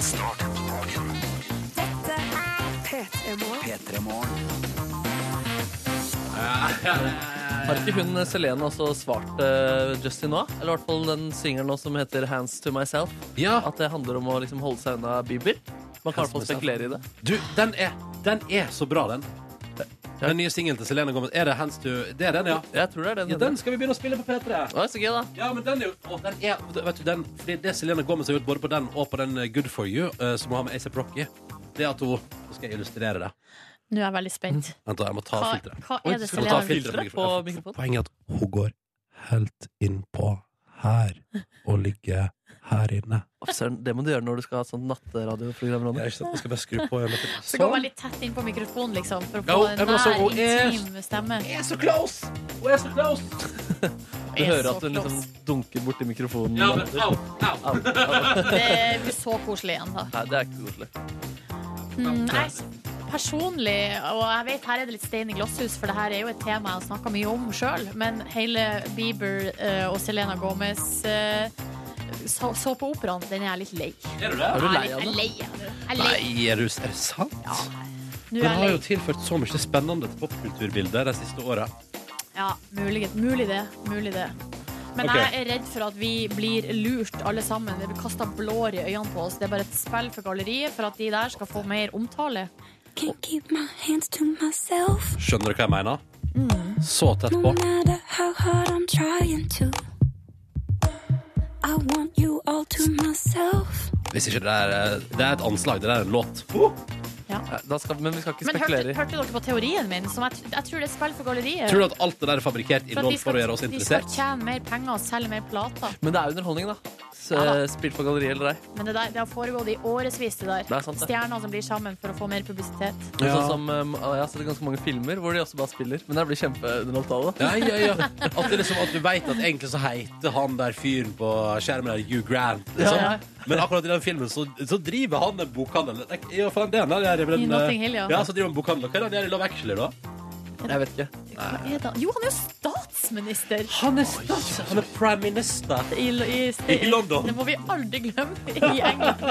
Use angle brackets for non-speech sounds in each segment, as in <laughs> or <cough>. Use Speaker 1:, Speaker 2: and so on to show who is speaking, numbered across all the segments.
Speaker 1: Start dagen.
Speaker 2: Dette er P3 Morgen.
Speaker 1: P3 Morgen.
Speaker 3: Har ikke hun Selene også svart eh, Justin nå? Eller i hvert fall den singelen nå som heter 'Hands to Myself'?
Speaker 4: Ja,
Speaker 3: At det handler om å liksom holde seg unna Bieber? Man kan i hvert fall spekulere i det.
Speaker 4: du, den er, den er så bra, den. Den nye singelen til Selena Gomez. Er det Hands to Det er den, ja.
Speaker 3: Jeg tror det er den.
Speaker 4: ja. Den skal vi begynne å spille på P3.
Speaker 3: Å, så gøy, da.
Speaker 4: Ja, men den er jo å, den er, Vet du, den Fordi det Selena Gomez har gjort både på den og på den eh, Good for you, eh, som hun har med A$AP Rocky, det at hun Nå skal jeg illustrere det.
Speaker 5: Nå er jeg veldig spent.
Speaker 4: Vent, da, jeg må Mm. ta
Speaker 5: Hva,
Speaker 4: filteret.
Speaker 5: hva
Speaker 3: Oi,
Speaker 5: er det
Speaker 3: skal
Speaker 4: vi
Speaker 5: Selena
Speaker 4: ta
Speaker 5: vil?
Speaker 4: filteret?
Speaker 3: Filtret på mikrofonen.
Speaker 4: Poenget er at hun går helt innpå her og ligger her inne.
Speaker 3: Å, Søren, det må du gjøre når du skal ha et sånt natteradioprogram. Ronny.
Speaker 4: Jeg, ikke sant, jeg skal bare skru på en liten-
Speaker 5: Så går man litt tett inn på mikrofonen, liksom, for å
Speaker 4: Sånn. Ja,
Speaker 5: få
Speaker 4: hun-
Speaker 5: en
Speaker 4: jeg må også-
Speaker 5: nær,
Speaker 4: hun er-
Speaker 5: intim stemme.
Speaker 4: Jeg er så close! Hun er så close!
Speaker 3: Du
Speaker 5: Jeg er
Speaker 3: hører
Speaker 5: så
Speaker 3: at hun
Speaker 5: close.
Speaker 3: liksom dunker borti mikrofonen.
Speaker 4: Ja, men au, au!
Speaker 3: Au, au.
Speaker 5: <laughs> Det blir så koselig igjen, da.
Speaker 3: Nei, det er ikke koselig.
Speaker 5: Mm, jeg, s- personlig, og jeg vet her er det litt stein i glasshus, for det her er jo et tema jeg har snakka mye om sjøl, men hele Bieber eh, og Selena Gomez eh, så, så på operaen, den er jeg litt lei.
Speaker 4: Er du det?
Speaker 3: Er du lei av
Speaker 5: Jeg er
Speaker 3: det?
Speaker 5: lei av det. Jeg er lei.
Speaker 4: Nei, er du er det sant?
Speaker 5: Nå
Speaker 4: Den
Speaker 5: er
Speaker 4: har
Speaker 5: jeg
Speaker 4: jo
Speaker 5: lei.
Speaker 4: tilført så mye spennende til popkulturbildet de siste åra.
Speaker 5: Ja, mulig, mulig det. Mulig det. Men
Speaker 4: Ok.
Speaker 5: jeg er redd for at vi blir lurt alle sammen. Det blir kasta blår i øynene på oss. Det er bare et spill for galleriet for at de der skal få mer omtale.
Speaker 6: Can't keep my hands to myself,
Speaker 4: Skjønner du hva jeg mener?
Speaker 5: Mm.
Speaker 4: Så tett
Speaker 6: no
Speaker 4: på.
Speaker 6: matter how hard I'm trying to. I want you all to myself.
Speaker 4: Hvis ikke det er eh, Det er et anslag, det der er en låt.
Speaker 3: Nei, Da skal, men vi skal ikke
Speaker 5: Men hørte,
Speaker 3: spekulere. i-
Speaker 5: hørte dere på teorien min? Som jeg, jeg tror det er spill for galleriet.
Speaker 4: Tror du at alt det der er fabrikkert i
Speaker 5: For at
Speaker 4: lån
Speaker 5: de skal,
Speaker 4: for å gjøre oss
Speaker 5: de skal
Speaker 4: interessert?
Speaker 5: tjene mer penger og selge mer plater.
Speaker 3: Men det er underholdning, da. Så,
Speaker 5: Ja da.
Speaker 3: Spilt på galleri eller ei.
Speaker 5: Men det, der, det har foregått i årevis, det der.
Speaker 3: Det er sant, det.
Speaker 5: Stjerner som blir sammen for å få mer publisitet.
Speaker 3: Men
Speaker 4: Ja.
Speaker 3: Sånn som, um, jeg har sett ganske mange filmer hvor de også bare spiller. Men jeg blir kjempeunderholdt av det.
Speaker 4: Ja, ja, ja. At, det liksom, at du veit at egentlig så heter han der fyren på skjermen der Hugh Grant. Liksom.
Speaker 3: Ja, ja.
Speaker 4: Men akkurat i den filmen så, så driver han en bokhandel. Ja, faen, det er han der, men,
Speaker 5: I Notting Hill, ja.
Speaker 4: ja, så driver han bokhandel. Hva er det han gjør i Love Actually, da?
Speaker 3: Jeg vet ikke.
Speaker 5: Hva er det? Jo, han er jo statsminister!
Speaker 4: Han er, han er prime minister.
Speaker 5: I, i,
Speaker 4: I London.
Speaker 5: Det må vi aldri glemme i England.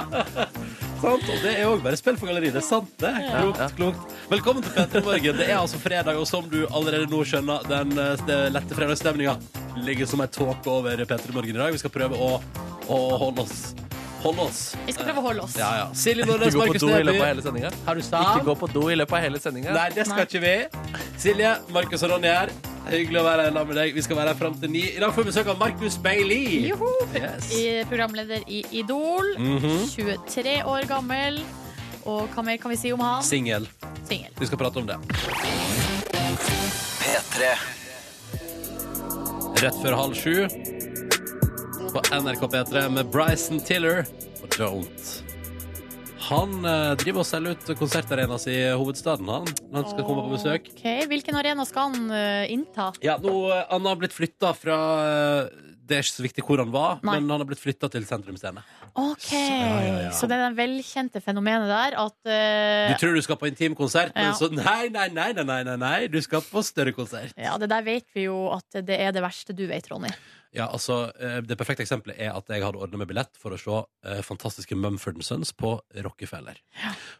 Speaker 4: Sant? Og det er òg bare spill for galleri. Det er sant, det. Klokt,
Speaker 3: Ja.
Speaker 4: klokt. Velkommen til Petter Morgen. Det er altså fredag, og som du allerede nå skjønner, den eh, st- lette fredagsstemninga ligger som ei tåke over Petter Morgen i dag. Vi skal prøve å, å holde oss. Holde oss. eh,
Speaker 5: Vi skal prøve å holde oss.
Speaker 4: Ja, ja. Silje
Speaker 3: Ikke
Speaker 4: Nordnes,
Speaker 3: gå på
Speaker 4: Markus
Speaker 3: do i løpet av
Speaker 4: Neby.
Speaker 3: hele sendinga.
Speaker 4: Har du
Speaker 3: Ikke
Speaker 4: stand?
Speaker 3: gå på do i løpet av hele sendinga.
Speaker 4: Nei, det skal ikke vi. Silje, Markus og Ronny her. Hyggelig å være her sammen med deg. Vi skal være her fram til ni. I dag får vi besøk av Markus Bailey.
Speaker 5: Joho!
Speaker 4: Yes. Mhm.
Speaker 5: I programleder i Idol. 23 år gammel. Og hva mer kan vi si om han?
Speaker 4: Singel.
Speaker 5: Singel.
Speaker 4: Vi skal prate om det.
Speaker 1: P3.
Speaker 4: Rett før halv sju på NRK P3 med Bryson Tiller og Don't. Han eh, driver og selger ut konsertarenaen sin i hovedstaden han, når han skal komme på besøk.
Speaker 5: Ok, Hvilken arena skal han eh, innta?
Speaker 4: Ja, nå, eh, Han har blitt flytta fra eh, Det er ikke så viktig hvor han var,
Speaker 5: Nei.
Speaker 4: men han har blitt flytta til sentrumsscene.
Speaker 5: Ok,
Speaker 4: ja, ja, ja.
Speaker 5: Så det er det velkjente fenomenet der at eh,
Speaker 4: Du tror du skal på intimkonsert, men
Speaker 5: Ja.
Speaker 4: så nei, nei, nei, nei, nei, nei, nei, du skal på større konsert.
Speaker 5: Ja, det der vet vi jo at det er det verste du vet, Ronny.
Speaker 4: Ja, altså, eh, Det perfekte eksempelet er at jeg hadde ordna med billett for å se eh, fantastiske Mumford Sons på Rockefeller.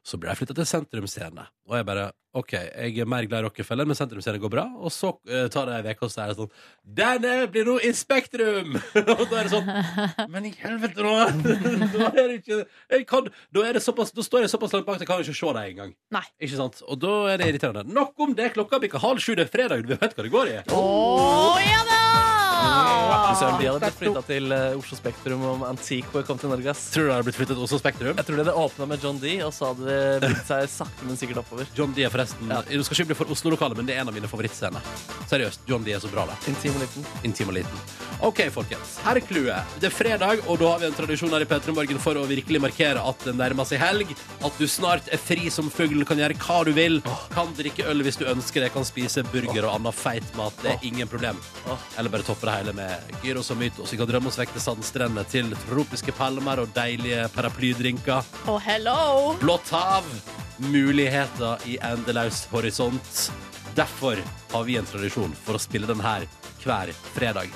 Speaker 4: Så ble jeg flytta til sentrumsscene. Og jeg bare OK, jeg er mer glad i Rockefeller, men sentrumsscene går bra. Og så eh, tar det ei uke, og så er det sånn Denne blir nå i Spektrum! <laughs> og da er det sånn Men i helvete, nå! <laughs> da er det ikke jeg kan, da, er det såpass, da står jeg såpass langt bak at jeg kan ikke se deg engang.
Speaker 5: Nei.
Speaker 4: Ikke sant? Og da er det irriterende. Nok om det, klokka bikker halv sju, det er fredag, du vet hva det går i.
Speaker 5: Å ja
Speaker 3: Fy Søren, de
Speaker 5: da!
Speaker 3: hadde blitt flytta til eh, Oslo Spektrum om Antico kom til Norge. ass.
Speaker 4: Tror du det har blitt flyttet til Oslo Spektrum?
Speaker 3: Jeg tror det det åpna med John D, og så hadde det bygd seg sakte, men sikkert oppover.
Speaker 4: John D er forresten Du skal ikke bli for Oslo-lokalet, men det er en av mine favorittscener. Seriøst, John D er så bra, det.
Speaker 3: Intim og liten.
Speaker 4: Intim og liten. OK, folkens. Her er clouet. Det er fredag, og da har vi en tradisjon her i P3 Morgen for å virkelig markere at det nærmer seg helg. At du snart er fri som fugl, kan gjøre hva du vil. Kan drikke øl hvis du ønsker det, kan spise burger og annen feit mat. Det er ingen problem.
Speaker 3: Åh.
Speaker 4: Eller bare toppe det hele med gyros og mytos. Vi kan drømme oss vekk til sandstrendene, til tropiske palmer og deilige paraplydrinker.
Speaker 5: Og hello!
Speaker 4: Blått hav, muligheter i endeløs horisont. Derfor har vi en tradisjon for å spille den her hver fredag.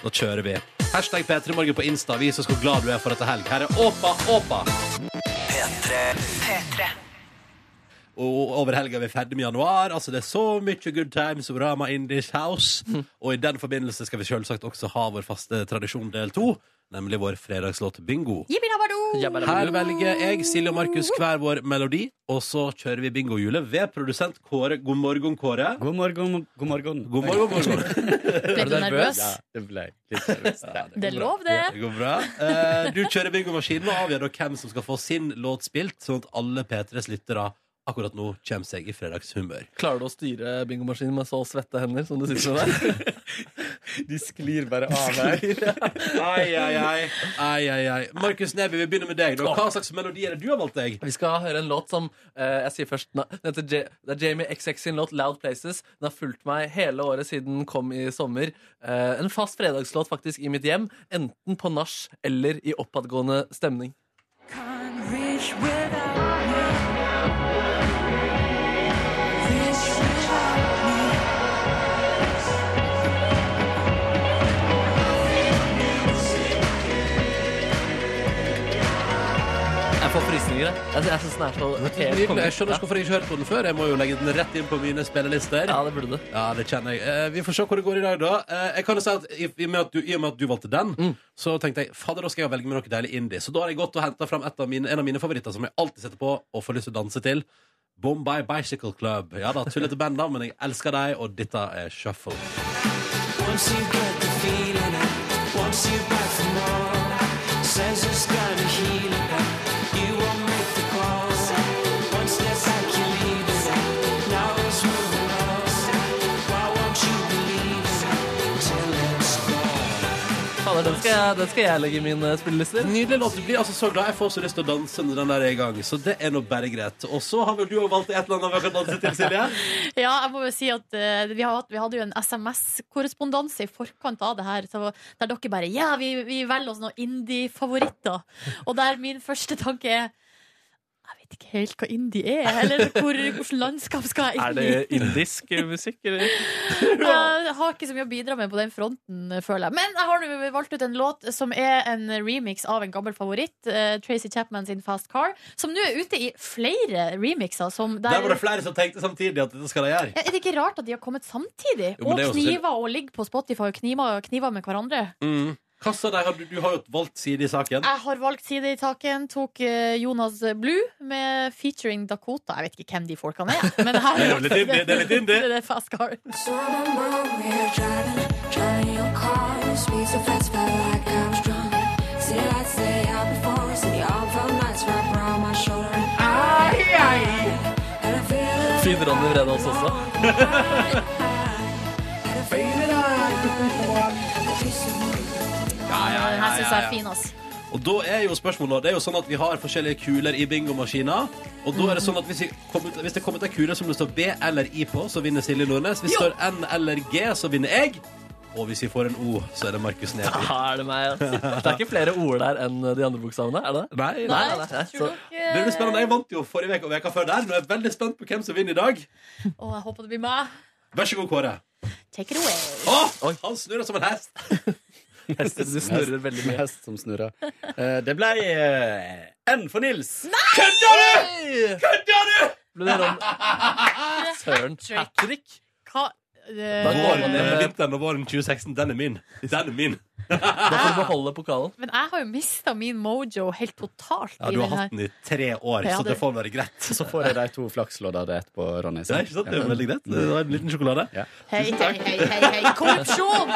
Speaker 4: Nå kjører vi. Hashtag P3morgen på Insta. Vis oss hvor glad du er for dette helg. Her er Åpa Åpa. Og over helga er vi ferdig med januar. Altså Det er så mye good times og Rama in this house. Og i den forbindelse skal vi selvsagt også ha vår faste tradisjon del to, nemlig vår fredagslåt bingo. Her velger jeg, Silje og Markus, hver vår melodi, og så kjører vi bingohjulet ved produsent Kåre. God morgen, Kåre.
Speaker 7: God morgen, god morgen.
Speaker 4: God morgen, god morgen.
Speaker 5: Ble du nervøs?
Speaker 7: Ja, det ble litt nervøst. Ja,
Speaker 5: Det er lov, det.
Speaker 4: Det går bra. Eh, Du kjører bingomaskinen og avgjør da hvem som skal få sin låt spilt, sånn at alle P3s lyttere akkurat nå kommer seg i fredagshumør.
Speaker 3: Klarer du å styre bingomaskinen med så svette hender som du sitter med <laughs> der?
Speaker 7: De sklir bare av her.
Speaker 4: Ai, ai, ai. ai, ai, ai. Markus Neby, vi begynner med deg. Da. Hva slags melodi er det du har valgt deg?
Speaker 3: Vi skal høre en låt som eh, Jeg sier først na- den heter Ja- Det er Jamie XX sin låt 'Loud Places'. Den har fulgt meg hele året siden den kom i sommer. Eh, en fast fredagslåt faktisk i mitt hjem, enten på nach eller i oppadgående stemning.
Speaker 2: Can't reach without me. Reach without me.
Speaker 3: Jeg får frysninger. jeg. Jeg, jeg syns den er så helt
Speaker 4: Nydelig.
Speaker 3: konge.
Speaker 4: Jeg skjønner ikke hvorfor jeg ikke hørte på den før. Jeg må jo legge den rett inn på mine spillelister.
Speaker 3: Ja, det burde det.
Speaker 4: Ja, det kjenner jeg. Eh, vi får se hvor det går i dag, da. Eh, jeg kan jo si at i, i, og med at du, I og med at du valgte den, så tenkte jeg fader, da skal jeg velge meg noe deilig indie. Så da har jeg gått og henta fram et av mine, en av mine favoritter som jeg alltid setter på og får lyst til å danse til. Bombay Bicycle Club. Ja da, tullete bandnavn, men jeg elsker deg, og dette er Shuffle.
Speaker 3: Fader, den skal, jeg, den skal jeg legge i mine spillelister.
Speaker 4: Nydelig låt. Du blir altså så glad. Jeg får så lyst til å danse når den der er i gang. Så det er nå bare greit. Og så har vel du også valgt et eller annet vi kan danse til, Silje?
Speaker 5: Ja, jeg må jo si at eh, vi, har, hatt- vi hadde jo en SMS-korrespondanse i forkant av det her, så, der dere bare Ja, vi, vi velger oss noen indie-favoritter. Og der min første tanke er Jeg vet ikke helt hva indie er, eller hvor, hvordan landskap skal jeg
Speaker 8: Er
Speaker 5: inn i?
Speaker 8: det indisk musikk, eller?
Speaker 5: <laughs> Jeg har ikke så mye å bidra med på den fronten, føler jeg. Men jeg har nå valgt ut en låt som er en remix av en gammel favoritt, eh, Tracy Chapman sin Fast Car, som nå er ute i flere remixer. Som der,
Speaker 4: Der var det flere som tenkte samtidig at dette skal de gjøre.
Speaker 5: Ja, er det ikke rart at de har kommet samtidig?
Speaker 4: Jo, men
Speaker 5: og
Speaker 4: det er jo også- Mm.
Speaker 5: kniver og ligger på Spotify og kniver, kniver med hverandre.
Speaker 4: Hva sa de? Har Du, du har jo valgt side i saken.
Speaker 5: Jeg har valgt side i taken. Tok eh, Jonas Blue med featuring Dakota. Jeg vet ikke hvem de folkene
Speaker 4: <laughs>
Speaker 5: er. Men her
Speaker 4: Det er jo litt indie, det er litt indie.
Speaker 5: Det er Fast Car.
Speaker 2: So remember we're driving, driving your car. You speed so fast, felt like I was drunk. City lights lay out before us, and the all nights wrap around my shoulder. And I feel
Speaker 3: Fin Ronny Vredås også.
Speaker 4: Ja, ja,
Speaker 5: Den her syns jeg er fin, ass.
Speaker 4: Og da er jo spørsmålet Det er jo sånn at vi har forskjellige kuler i bingomaskiner. Og da er det sånn at hvis, vi kommer ut- hvis det kommer ut ei kule som det står B eller I på, så vinner Silje Nordnes. Hvis det står N eller G, så vinner jeg. Og hvis vi får en O, så er det Markus Neby.
Speaker 3: Ja, er det meg? ass? Det er ikke flere ord der enn eh, de andre bokstavene? er det?
Speaker 4: Nei,
Speaker 5: Nei,
Speaker 3: nei, nei,
Speaker 5: tror
Speaker 3: så-
Speaker 5: dere-
Speaker 4: Det blir spennende. Jeg vant jo forrige uke og veka før der. Nå er jeg veldig spent på hvem som vinner i dag.
Speaker 5: Å, jeg håper det blir meg.
Speaker 4: Vær så god, Kåre.
Speaker 5: Take it away.
Speaker 4: Å, han snurrer som en hest.
Speaker 3: Hester, du snurrer veldig mye.
Speaker 7: Hest som snurrer. Eh, Det ble eh, N for Nils.
Speaker 3: Ble det Ron... Søren. Hat trick?
Speaker 5: Hva
Speaker 3: Da
Speaker 5: eh,
Speaker 3: går man ned med
Speaker 4: Vinteren og våren 2016, den er min. Den er min.
Speaker 3: Da får du beholde pokalen.
Speaker 5: Men jeg har jo mista min mojo helt totalt.
Speaker 4: Ja,
Speaker 5: i
Speaker 4: du har
Speaker 5: den her.
Speaker 4: hatt den i tre år,
Speaker 5: Ja,
Speaker 4: så
Speaker 5: det-
Speaker 4: det får være greit.
Speaker 7: Så får jeg de to flaksloddene etterpå, Ronny.
Speaker 4: Det er ikke sant, det er veldig greit. Det var en liten sjokolade.
Speaker 5: Hei, hei, hei, hei,
Speaker 4: <laughs>
Speaker 5: hei. Korrupsjon!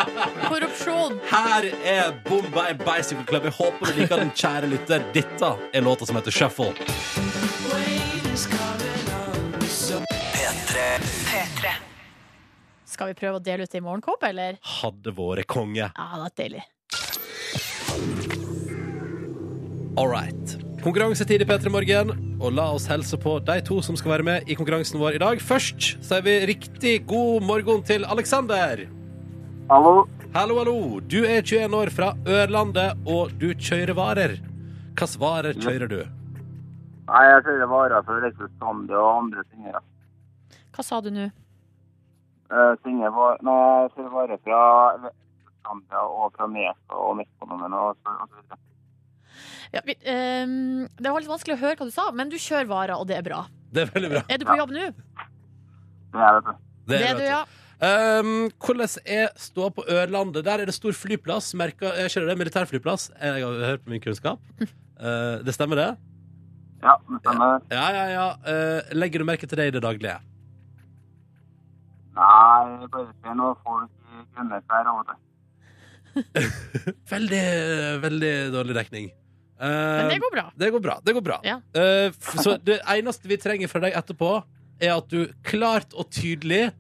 Speaker 5: Korrupsjon.
Speaker 4: Her er Bombay Bicycle Club. Jeg håper du liker den, kjære lytter. Dette er låta som heter Shuffle.
Speaker 5: Skal vi prøve å dele ut det i morgenkåpe, eller?
Speaker 4: Hadde vært konge.
Speaker 5: Ja, det er deilig.
Speaker 4: All right. Konkurransetid i P3 Morgen, og la oss helse på de to som skal være med i konkurransen vår i dag. Først sier vi riktig god morgen til Aleksander.
Speaker 9: Hallo.
Speaker 4: Hallo, hallo. Du er 21 år fra Ørlandet, og du kjører varer. Hvilke varer kjører du?
Speaker 9: Nei, jeg kjører varer for elektrostandy og andre ting. Ja.
Speaker 5: Hva sa du nå?
Speaker 9: Eh, ting jeg var- Nei, jeg kjører varer fra Zambia og fra Mesa og Mekonomen og så og så videre.
Speaker 5: Ja, vi, ehm, det var litt vanskelig å høre hva du sa, men du kjører varer, og det er bra.
Speaker 4: Det er veldig bra.
Speaker 5: Er du på jobb nå?
Speaker 9: Det er det.
Speaker 5: Det er du, ja.
Speaker 4: Um, hvordan er ståa på Ørlandet? Der er det stor flyplass. Merka, jeg kjører det, militærflyplass. Jeg har hørt på min
Speaker 5: <laughs>
Speaker 4: kunnskap. Uh, det stemmer, det?
Speaker 9: Ja, det stemmer.
Speaker 4: Ja, ja, ja. Uh, legger du merke til det i det daglige?
Speaker 9: Nei, jeg bare ser noen folk i grønne klær av og til.
Speaker 4: Veldig, eh, veldig dårlig dekning. Uh,
Speaker 5: Men det går bra.
Speaker 4: Det går bra. det går bra
Speaker 5: Ja.
Speaker 4: Eh, f- Så det eneste vi trenger fra deg etterpå, er at du klart og tydelig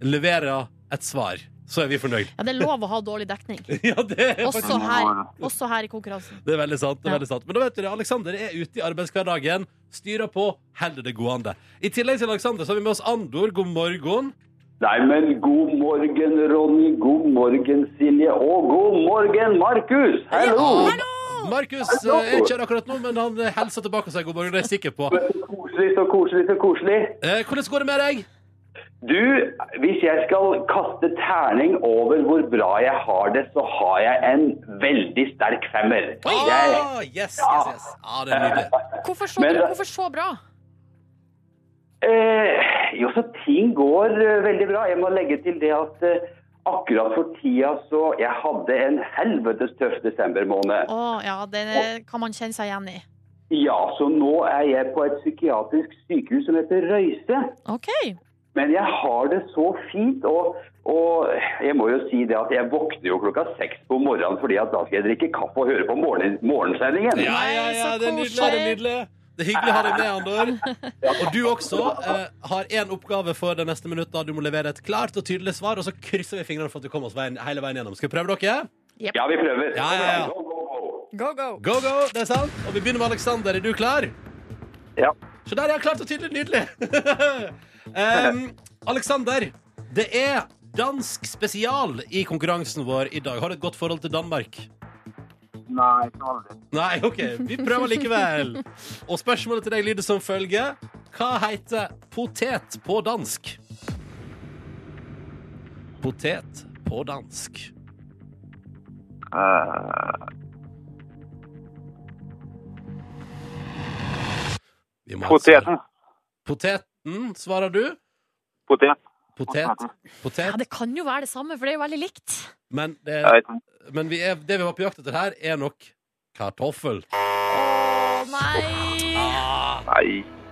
Speaker 4: leverer et svar. Så er vi fornøyd. <laughs>
Speaker 5: Ja, det er lov å ha dårlig dekning.
Speaker 4: ja, det er, faktisk,
Speaker 5: Også her, også her i konkurransen.
Speaker 4: det er veldig sant. det er
Speaker 5: Ja.
Speaker 4: veldig sant Men da vet du det, Aleksander er ute i arbeidshverdagen, styrer på, holder det gående. I tillegg til Aleksander så har vi med oss Andor. God morgen.
Speaker 10: Nei, men god morgen, Ronny. God morgen, Silje. Og god morgen, Markus. Hallo!
Speaker 4: Markus eh, er ikke her akkurat nå, men han eh, hilser tilbake og sier god morgen. Det er jeg sikker på.
Speaker 10: Koselig, så koselig, så koselig.
Speaker 4: Eh, hvordan går det med deg?
Speaker 10: Du, hvis jeg skal kaste terning over hvor bra jeg har det, så har jeg en veldig sterk femmer. Jeg,
Speaker 4: Ah, yes, yes, yes. Ah, det er nydelig.
Speaker 5: Hvorfor så,
Speaker 10: Men-
Speaker 5: hvorfor så bra?
Speaker 10: Eh, jo, så ting går eh, veldig bra. Jeg må legge til det at eh, akkurat for tida så Jeg hadde en helvetes tøff desember måned.
Speaker 5: Å ja, det kan man kjenne seg igjen i.
Speaker 10: Ja, så nå er jeg på et psykiatrisk sykehus som heter Røyse.
Speaker 5: OK.
Speaker 10: Men jeg har det så fint, og, og jeg må jo si det at jeg våkner jo klokka seks på morgenen fordi at da skal jeg drikke kaffe og høre på morgen, morgensendingen.
Speaker 4: Ja, ja, ja, det er nydelig. Det er nydelig. Det er hyggelig å ha deg med, Andor. Og du også eh, har én oppgave for de neste minuttene. Du må levere et klart og tydelig svar, og så krysser vi fingrene for at du kommer oss veien, hele veien gjennom. Skal vi prøve dere?
Speaker 10: Ja, vi prøver.
Speaker 4: Ja, ja, ja.
Speaker 10: Go, go, go.
Speaker 5: Go, go.
Speaker 4: Go, go, det er sant. Og vi begynner med Aleksander. Er du klar?
Speaker 9: Ja.
Speaker 4: Så der, ja. Klart og tydelig. Nydelig. <laughs> um, Aleksander, det er dansk spesial i konkurransen vår i dag. Har du et godt forhold til Danmark?
Speaker 9: Nei, ikke aldri.
Speaker 4: Nei, OK. Vi prøver likevel. Og spørsmålet til deg lyder som følger. Hva heter potet på dansk? Potet på dansk.
Speaker 9: Eh,
Speaker 4: Vi må ha et svar.
Speaker 9: poteten.
Speaker 4: Poteten, svarer du.
Speaker 9: Potet. <laughs>
Speaker 4: Potet.
Speaker 5: Ja,
Speaker 4: Potet.
Speaker 5: det kan jo være det samme, for det er jo veldig likt.
Speaker 4: Men det
Speaker 9: Jeg vet ikke.
Speaker 4: Men vi er, det vi var på jakt etter her, er nok kartoffel.
Speaker 5: Å nei!
Speaker 9: Nei.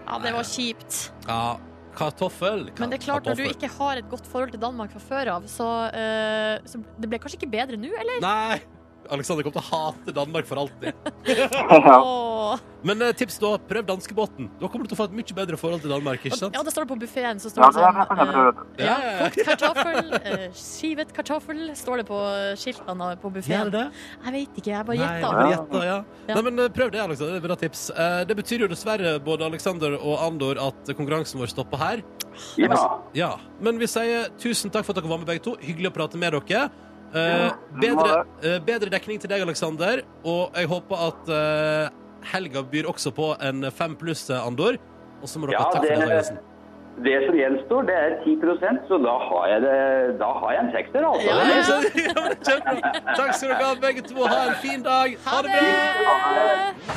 Speaker 5: Ja, det var kjipt.
Speaker 4: Ja, kartoffel. ka-
Speaker 5: Men det er klart, når du
Speaker 4: kartoffel.
Speaker 5: ikke har et godt forhold til Danmark fra før av, så, eh, så det ble kanskje ikke bedre nå, eller?
Speaker 4: Nei! Alexander kommer til å hate Danmark for alltid.
Speaker 9: Ja.
Speaker 5: Åh.
Speaker 4: Men eh, tips, da. Prøv danskebåten. Da kommer du til å få et mye bedre forhold til Danmark. ikke sant?
Speaker 5: Ja, det står det på buffeen. Så
Speaker 9: Ja,
Speaker 5: står det
Speaker 9: det er det som
Speaker 5: sånn
Speaker 9: jeg
Speaker 5: eh,
Speaker 9: prøver.
Speaker 5: ja,
Speaker 4: Ja, ja, ja.
Speaker 5: Kokt kartoffel, eh, skivet kartoffel, står det på skiltene
Speaker 4: Ja,
Speaker 5: på buffeen.
Speaker 4: det?
Speaker 5: Jeg vet ikke, jeg bare
Speaker 4: Nei,
Speaker 5: gjetta.
Speaker 4: bare gjetta, ja.
Speaker 5: Ja.
Speaker 4: Nei, men eh, prøv det, Alexander. Det er bra tips. Eh, Det betyr jo dessverre, både Alexander og Andor, at konkurransen vår stopper her.
Speaker 10: Ja.
Speaker 4: Ja, men vi sier tusen takk for at dere var med begge to. Hyggelig å prate med dere. Eh,
Speaker 9: Ja, det var
Speaker 4: bedre, eh, bedre dekning til deg, Aleksander. Og jeg håper at eh, helga byr også på en fem pluss, eh, Andor. Og så må dere
Speaker 10: Ja,
Speaker 4: ha takk for
Speaker 10: det-
Speaker 4: deltakelsen.
Speaker 10: Det som gjenstår, det er 10 så da har jeg, det, da har jeg en sekser, altså.
Speaker 5: Ja, ja.
Speaker 4: Ja, men Kjempebra. Takk skal dere ha, begge to. Ha en fin dag. Ha det bra.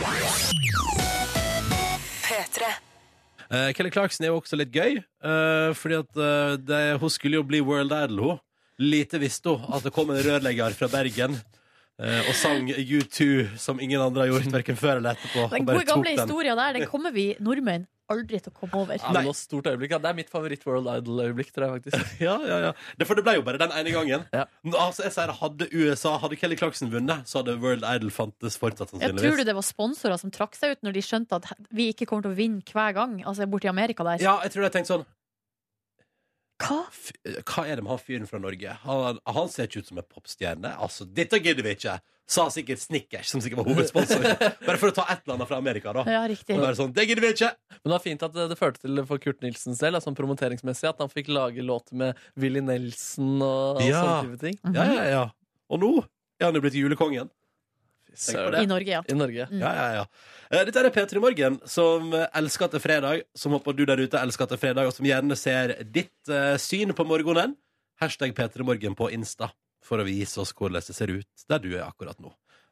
Speaker 4: Eh, Kelly Clarkson er jo også litt gøy, eh, fordi at eh, det, hun skulle jo bli World Idol, hun. Lite visste hun at det kom en rørlegger fra Bergen eh, og sang U2 som ingen andre har gjort, hverken før eller etterpå.
Speaker 5: Den
Speaker 4: og bare
Speaker 5: gode
Speaker 4: tok
Speaker 5: gamle historien der, den kommer vi nordmenn aldri til å komme over.
Speaker 3: Ja, men det var et stort øyeblikk, ja. Det er mitt favoritt World Idol-øyeblikk, tror jeg faktisk.
Speaker 4: Ja, ja, ja. Det, for det ble jo bare den ene gangen.
Speaker 3: Ja.
Speaker 4: Nå, Altså, jeg sier, hadde USA, hadde Kelly Clarkson vunnet, så hadde World Idol fantes fortsatt,
Speaker 5: Jeg tror du
Speaker 4: sannsynligvis.
Speaker 5: det var sponsorer som trakk seg ut når de skjønte at vi ikke kommer til å vinne hver gang? Altså borti Amerika der.
Speaker 4: Ja, jeg tror jeg tenkte sånn
Speaker 5: Hva?
Speaker 4: f- eh, Hva er det med han fyren fra Norge? Han, han ser ikke ut som en popstjerne. Altså, dette gidder vi ikke! Sa sikkert Snickers, som sikkert var hovedsponsor. Bare for å ta et eller annet fra Amerika, da.
Speaker 5: Ja, riktig.
Speaker 4: Og bare sånn, det gidder vi ikke!
Speaker 3: Men det var fint at det, det førte til for Kurt Nilsen selv, altså promoteringsmessig, at han fikk lage låter med Willy Nelson og, og
Speaker 4: Ja.
Speaker 3: sånne type ting.
Speaker 4: Ja, ja, ja. Og nå er han jo blitt julekongen. Tenk på det.
Speaker 5: I Norge, ja.
Speaker 3: I Norge.
Speaker 4: Ja, ja, ja. Eh, Dette er P3 Morgen, som eh, elsker at det er fredag, som håper du der ute elsker at det er fredag, og som gjerne ser ditt eh, syn på morgenen. Hashtag P3 Morgen på Insta. for å vise oss hvordan det ser ut der du er akkurat nå.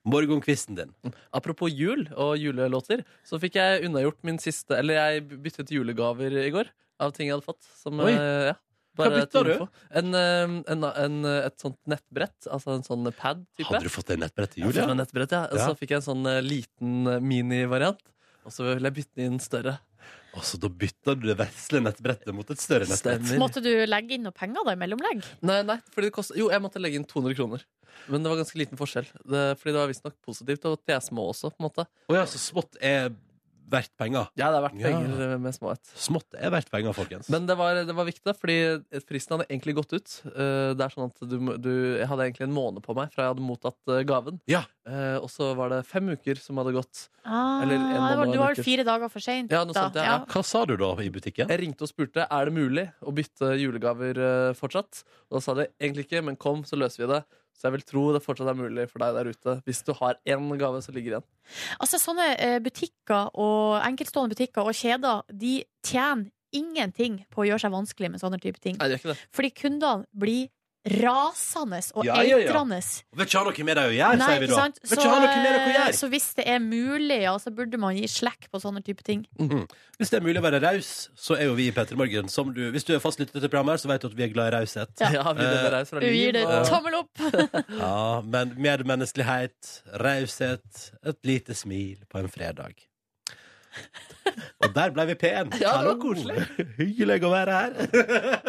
Speaker 4: Morgenkvisten din.
Speaker 3: Apropos jul og julelåter, så fikk jeg unnagjort min siste Eller jeg byttet julegaver i går av ting jeg hadde fått. Som,
Speaker 4: Oi.
Speaker 3: eh, ja,
Speaker 4: Hva
Speaker 3: bare
Speaker 4: bytta
Speaker 3: til
Speaker 4: du?
Speaker 3: info. En, eh, en, en, et sånt nettbrett. Altså en sånn pad. Type.
Speaker 4: Hadde du fått deg nettbrett til
Speaker 3: Jeg
Speaker 4: jul?
Speaker 3: fikk meg
Speaker 4: Ja?
Speaker 3: nettbrett, ja. Og
Speaker 4: Ja.
Speaker 3: så fikk jeg en sånn eh, liten eh, minivariant. Og så ville jeg bytte inn større.
Speaker 4: Og så da bytta du det vesle nettbrettet mot et større nettbrett.
Speaker 3: Stemmer.
Speaker 5: Måtte du legge inn noe penger da i mellomlegg?
Speaker 3: Nei, nei, fordi det kostet, jo, jeg måtte legge inn 200 kroner. Men det var ganske liten forskjell. Det, fordi det var visstnok positivt og at de er små også. på en måte
Speaker 4: Å ja, så smått er verdt penger.
Speaker 3: Ja, det har vært
Speaker 4: Ja.
Speaker 3: penger eh, med småhet.
Speaker 4: Smått er verdt penger, folkens.
Speaker 3: Men det var, det var viktig, da, fordi fristen hadde egentlig gått ut. Eh, det er sånn at du, må- du, Jeg hadde egentlig en måned på meg fra jeg hadde mottatt eh, gaven.
Speaker 4: Ja.
Speaker 3: Eh, og så var det fem uker som hadde gått.
Speaker 5: Ah,
Speaker 3: Eller en
Speaker 5: det var,
Speaker 3: måned
Speaker 5: du
Speaker 3: og en
Speaker 5: var
Speaker 3: uke.
Speaker 5: vel fire dager for seint?
Speaker 3: Ja, noe sånt, ja, ja.
Speaker 4: Hva sa du da i butikken?
Speaker 3: Jeg ringte og spurte er det mulig å bytte julegaver eh, fortsatt. Og da sa de egentlig ikke, men kom, så løser vi det. Så jeg vil tro det fortsatt er mulig for deg der ute. Hvis du har én gave som ligger igjen.
Speaker 5: Altså, sånne eh, butikker og enkeltstående butikker og kjeder, de tjener ingenting på å gjøre seg vanskelig med sånne type ting.
Speaker 3: Nei, det gjør ikke det.
Speaker 5: Fordi kundene blir rasende og
Speaker 4: Ja, ja, ja.
Speaker 5: eitrende.
Speaker 4: Vil ikke ha noe med deg å gjøre,
Speaker 5: Nei,
Speaker 4: sier vi
Speaker 5: ikke
Speaker 4: da.
Speaker 5: sant?
Speaker 4: Vil
Speaker 5: Så,
Speaker 4: ikke ha noe med deg å
Speaker 5: eh,
Speaker 4: gjøre.
Speaker 5: så hvis det er mulig, ja, så burde man gi slekk på sånne type ting.
Speaker 4: Hvis det er mulig å være raus, så er jo vi i P3 Morgen. som du- Hvis du er fast lytter til programmet, her, så vet du at vi er glad i raushet.
Speaker 5: Ja.
Speaker 3: Ja, vi deler raus fra
Speaker 5: Du
Speaker 3: liv,
Speaker 5: gir det
Speaker 3: og-
Speaker 5: tommel
Speaker 4: <laughs>
Speaker 5: opp!
Speaker 4: Ja, men medmenneskelighet, raushet, et lite smil på en fredag. Og der ble vi P1.
Speaker 3: Ja, det var
Speaker 4: Hallo.
Speaker 3: koselig.
Speaker 4: Hyggelig å være her.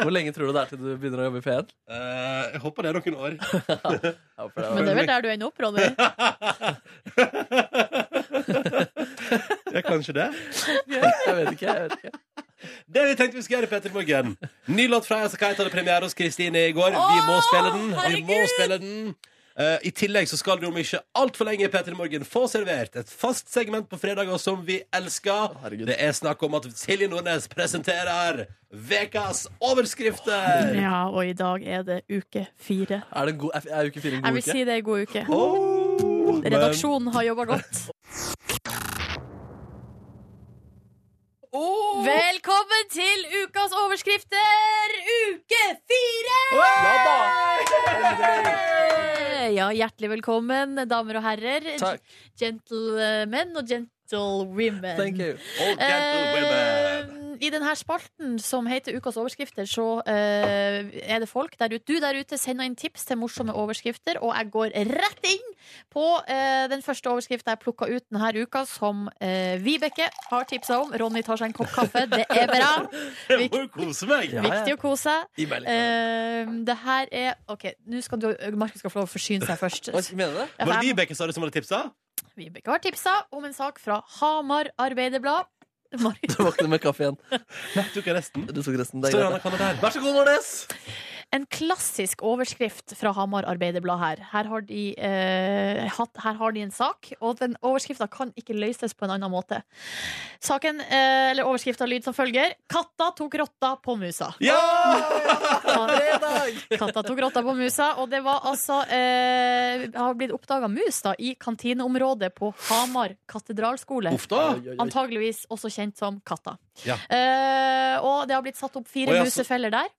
Speaker 3: Hvor lenge tror du det er til du begynner å jobbe i P1?
Speaker 4: Eh, jeg håper det er noen år.
Speaker 3: Ja, for det
Speaker 5: Men
Speaker 3: var-
Speaker 5: det er vel der du ender opp, Ronny.
Speaker 4: Det er kanskje det.
Speaker 3: Jeg vet ikke. jeg vet ikke
Speaker 4: Det vi tenkte vi skulle gjøre, Petter Morgen. Ny låt fra Asa Kite hadde premiere hos Kristine i går. Vi må spille den. Vi må spille den. Eh, I tillegg så skal du om ikke altfor lenge Peter Morgen få servert et fast segment på fredager som vi elsker.
Speaker 3: herregud.
Speaker 4: det er snakk om at Silje Nordnes presenterer Vekas overskrifter!
Speaker 5: Ja, og i dag er det uke fire.
Speaker 3: Er, det en god, er uke fire en
Speaker 5: Jeg
Speaker 3: god
Speaker 5: vil
Speaker 3: uke?
Speaker 5: si det er god uke.
Speaker 4: Åh, men-
Speaker 5: Redaksjonen har jobba godt. Velkommen til ukas overskrifter, uke fire! Ja, hjertelig velkommen, damer og herrer.
Speaker 3: Takk.
Speaker 5: Gentlemen og gentlewomen.
Speaker 3: Thank you.
Speaker 4: All gentlewomen.
Speaker 5: Eh, I denne spalten som heter Ukas overskrifter, så eh, er det folk der ute. Du der ute sender inn tips til morsomme overskrifter, og jeg går rett inn på eh, den første overskrifta jeg plukka ut denne uka, som eh, Vibeke har tipsa om. Ronny tar seg en kopp kaffe. Det er bra.
Speaker 4: <laughs> Jeg må jo kose meg.
Speaker 3: Ja, ja.
Speaker 5: Viktig å kose seg.
Speaker 3: I Berlin.
Speaker 5: Eh, det her er OK, nå skal du Markus skal få lov å forsyne seg først.
Speaker 3: Hva mener du det?
Speaker 5: Ja,
Speaker 4: Var det
Speaker 5: for jeg må-
Speaker 4: Vibeke sa det som hadde tipsa?
Speaker 5: Vibeke har tipsa om en sak fra Hamar Arbeiderblad. Markus.
Speaker 3: <laughs> Du våkner med kaffe igjen.
Speaker 4: Nei, tok jeg resten?
Speaker 3: Du tok resten. Det er
Speaker 4: Står han
Speaker 3: greit.
Speaker 4: og kan det der?
Speaker 3: Vær så god, Nordnes!
Speaker 5: En klassisk overskrift fra Hamar Arbeiderblad her. Her har de, eh, hatt, her har de en sak, og den overskrifta kan ikke løses på en annen måte. Saken, eh, eller Overskrifta lyd som følger Katta tok rotta på musa. <laughs> Katta tok rotta på musa, og det var altså eh, Har blitt oppdaga mus da i kantineområdet på Hamar katedralskole.
Speaker 4: Uff da.
Speaker 3: Oi, oi,
Speaker 7: Ah,
Speaker 3: oi.
Speaker 5: Antageligvis også kjent som Katta.
Speaker 4: Ja.
Speaker 5: Eh, og det har blitt satt opp fire
Speaker 4: Å, ja, så-
Speaker 5: musefeller der.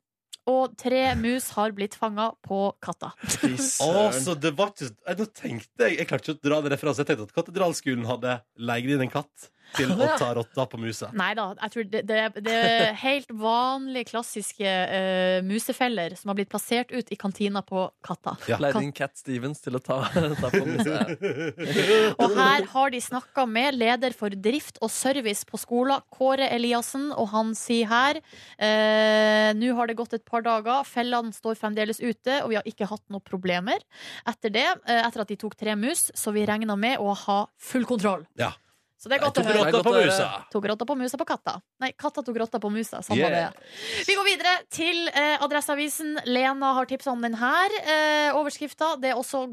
Speaker 5: Og tre mus har blitt fanga på Katta.
Speaker 3: Fy
Speaker 4: Å,
Speaker 3: søren.
Speaker 4: så det var ikke Nei, Nå tenkte jeg Jeg klarte ikke å dra den referansen. Jeg tenkte at katedralskolen hadde leid inn en katt til å ta rotta på musa.
Speaker 5: Nei da, jeg tror det, det, det er helt vanlige, klassiske eh, musefeller som har blitt plassert ut i kantina på Katta.
Speaker 4: Ja.
Speaker 3: Leide inn Cat Stevens til å ta, <laughs> ta på den. <laughs> Så,
Speaker 5: Og her har de snakka med leder for drift og service på skolen, Kåre Eliassen, og han sier her eh, Nå har det gått et par dager, fellene står fremdeles ute, og vi har ikke hatt noen problemer etter det. Eh, etter at de tok tre mus, så vi regna med å ha full kontroll.
Speaker 4: Ja.
Speaker 5: Så det er godt å
Speaker 4: Tok
Speaker 5: høre.
Speaker 4: rotta på musa.
Speaker 5: Tok rotta på musa på katta. Nei, katta tok rotta på musa. Samme
Speaker 4: Yeah.
Speaker 5: det. Vi går videre til eh, Adresseavisen. Lena har tipsa om den her. Eh, overskrifta. Det er også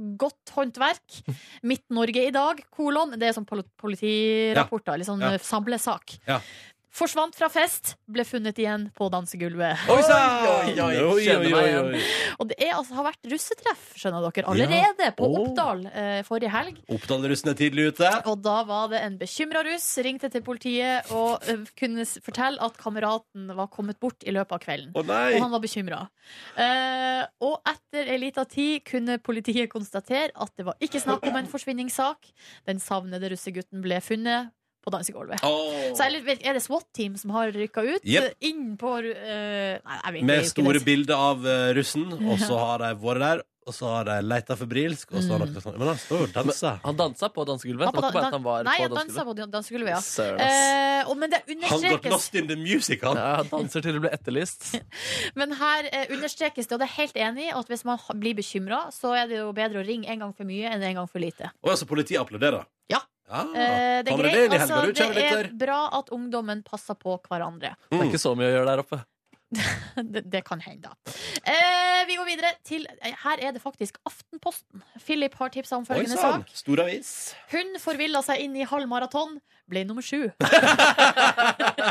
Speaker 4: <laughs>
Speaker 5: godt håndverk. Midt-Norge i dag, kolon. Det er sånn pol- politirapporter. Litt sånn
Speaker 4: Ja.
Speaker 5: eh, samlesak.
Speaker 4: Ja.
Speaker 5: Forsvant fra fest, ble funnet igjen på dansegulvet.
Speaker 3: Oi sann!
Speaker 7: Oi, oi,
Speaker 3: Oi,
Speaker 7: kjenner
Speaker 3: oi,
Speaker 7: meg
Speaker 3: oi,
Speaker 7: igjen.
Speaker 3: oi.
Speaker 5: Og det er, altså, har vært russetreff, skjønner dere, allerede på
Speaker 4: Åh.
Speaker 5: Oppdal eh, forrige helg.
Speaker 4: Oppdal-russen er tidlig ute.
Speaker 5: Og da var det en bekymra russ, ringte til politiet og eh, kunne s- fortelle at kameraten var kommet bort i løpet av kvelden.
Speaker 4: Å nei!
Speaker 5: Og han var bekymra. Eh, og etter ei lita tid kunne politiet konstatere at det var ikke snakk om en forsvinningssak. Den savnede russegutten ble funnet på dansegulvet.
Speaker 4: Åh.
Speaker 5: Så jeg lurer- vet- er det SWAT-team som har rykka ut?
Speaker 4: Jepp.
Speaker 5: Inn på eh, Nei, jeg vet
Speaker 4: Med
Speaker 5: ikke.
Speaker 4: store
Speaker 5: det.
Speaker 4: bilder av eh, russen, og så
Speaker 5: Ja.
Speaker 4: har de vært der, og så har de leita febrilsk, og så har
Speaker 5: Mm.
Speaker 4: de Men han står jo og danser.
Speaker 3: Han dansa på dansegulvet.
Speaker 5: Ja,
Speaker 3: Det
Speaker 5: på
Speaker 3: var ikke
Speaker 5: dan-
Speaker 3: bare at han var
Speaker 5: Nei,
Speaker 3: på
Speaker 5: han dansa
Speaker 3: dansegulvet.
Speaker 5: på dansegulvet, ja.
Speaker 8: Søren, ass.
Speaker 5: Eh, og, men det
Speaker 4: Han got
Speaker 5: understrekes
Speaker 4: lost in the music, han.
Speaker 3: Ja, han danser til det ble
Speaker 5: <laughs>
Speaker 3: etterlyst.
Speaker 5: Men her eh, understrekes det, og det er jeg helt enig i, at hvis man ha- blir bekymra, så er det jo bedre å ringe en gang for mye enn en gang for lite.
Speaker 4: Og altså, politiet applauderer.
Speaker 5: Ja.
Speaker 4: ja.
Speaker 5: Eh, det
Speaker 4: Ta
Speaker 5: er
Speaker 4: med deg det inn
Speaker 5: greit,
Speaker 4: i helga,
Speaker 5: altså,
Speaker 4: du,
Speaker 5: det
Speaker 4: kjære
Speaker 5: er
Speaker 4: lytter.
Speaker 5: bra at ungdommen passer på hverandre. <laughs>
Speaker 4: Mm.
Speaker 3: Det er ikke så mye å gjøre der oppe.
Speaker 5: Det, det kan hende, da. Eh, vi går videre til eh, Her er det faktisk Aftenposten. Philip har tipsa om
Speaker 4: Oi
Speaker 5: følgende
Speaker 4: sann,
Speaker 5: sak.
Speaker 4: stor avis.
Speaker 5: Hun forvilla seg inn i halv maraton, ble nummer sju. <laughs>
Speaker 3: <laughs> Ja,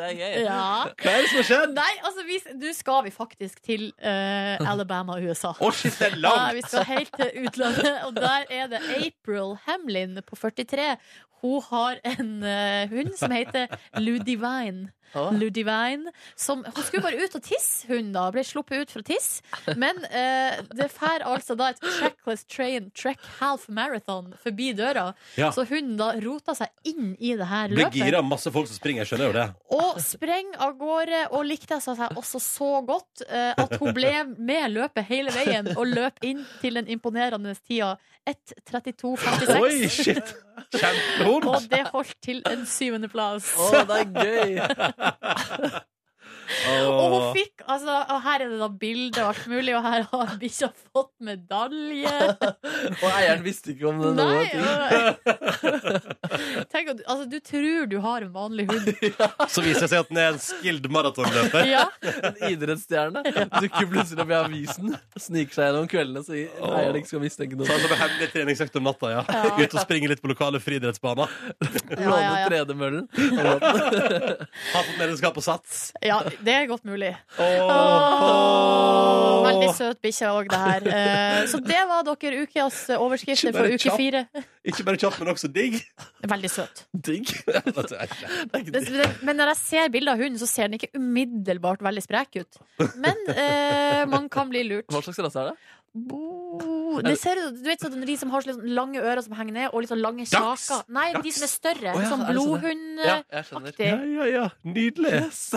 Speaker 3: det er gøy.
Speaker 5: Ja.
Speaker 4: Hva er det som har skjedd?
Speaker 5: Nei, altså, vi- nå skal vi faktisk til <laughs> eh, Alabama, USA.
Speaker 4: Å, shit, det er
Speaker 5: Ja, vi
Speaker 4: langt!
Speaker 5: skal helt til utlandet, og der er det April Hamlin på 43. Hun har en eh, hund som heter Ludivine.
Speaker 3: Å,
Speaker 5: Ludivine som, hun skulle bare ut og tisse, hun da. Ble sluppet ut for å tisse. Men eh, det fær altså da et trackless train track half marathon forbi døra.
Speaker 4: Ja.
Speaker 5: Så hunden da rota seg inn i det her
Speaker 4: Blir
Speaker 5: løpet.
Speaker 4: gira, masse folk som springer. Jeg skjønner jo det.
Speaker 5: Og spreng av gårde og likte seg seg også så godt eh, at hun ble med løpet hele veien og løp inn til den imponerende tida 1.32,56.
Speaker 4: Oi, shit! Kjempehund!
Speaker 5: Og det holdt til en syvendeplass.
Speaker 3: Å, det er gøy!
Speaker 5: Og hun fikk, altså, og her er det da bilde og alt mulig, og her har bikkja fått medalje.
Speaker 3: Og eieren visste ikke om det.
Speaker 5: Nei,
Speaker 3: noe ting.
Speaker 5: og- Tenk, at du- altså, du tror du har en vanlig hund.
Speaker 4: Så viser det seg at den er en skilled maratonløper.
Speaker 5: Ja.
Speaker 3: En idrettsstjerne dukker plutselig opp i avisen, sniker seg gjennom kveldene så eieren ikke skal mistenke
Speaker 4: Så han
Speaker 3: noe.
Speaker 4: som er hemmelig treningsøkt om natta, ja.
Speaker 5: Ja.
Speaker 4: Ut og springe litt på lokale friidrettsbaner.
Speaker 5: Ja, ja, ja.
Speaker 3: Låne 3D-møllen.
Speaker 4: Har fått medlemskap på Sats.
Speaker 5: ja, det er godt mulig.
Speaker 4: Åh.
Speaker 5: Veldig søt bikkje òg, det her. Eh, Så det var dere ukas overskrifter
Speaker 4: Ikke
Speaker 5: for
Speaker 4: bare
Speaker 5: uke
Speaker 4: kjapp.
Speaker 5: fire. <laughs>
Speaker 4: Ikke bare kjapt, men også digg.
Speaker 5: Veldig søt. <laughs>
Speaker 3: Digg.
Speaker 5: Det, det, men når jeg ser bilder av hunden, så ser den ikke umiddelbart veldig sprek ut. Men eh, man kan bli lurt.
Speaker 3: Hva slags rase er det?
Speaker 5: Bo- Det ser, ut- du vet sånn, De som har sånn lange ører som henger ned, og litt sånn lange
Speaker 4: Dachs!
Speaker 5: kjaker. Nei, de
Speaker 4: Dachs!
Speaker 5: som er større.
Speaker 3: Å ja,
Speaker 5: sånn
Speaker 3: er det sånn Ja,
Speaker 5: blodhundaktig.
Speaker 3: jeg skjønner.
Speaker 4: ja, ja. Nydelig.
Speaker 3: Yes.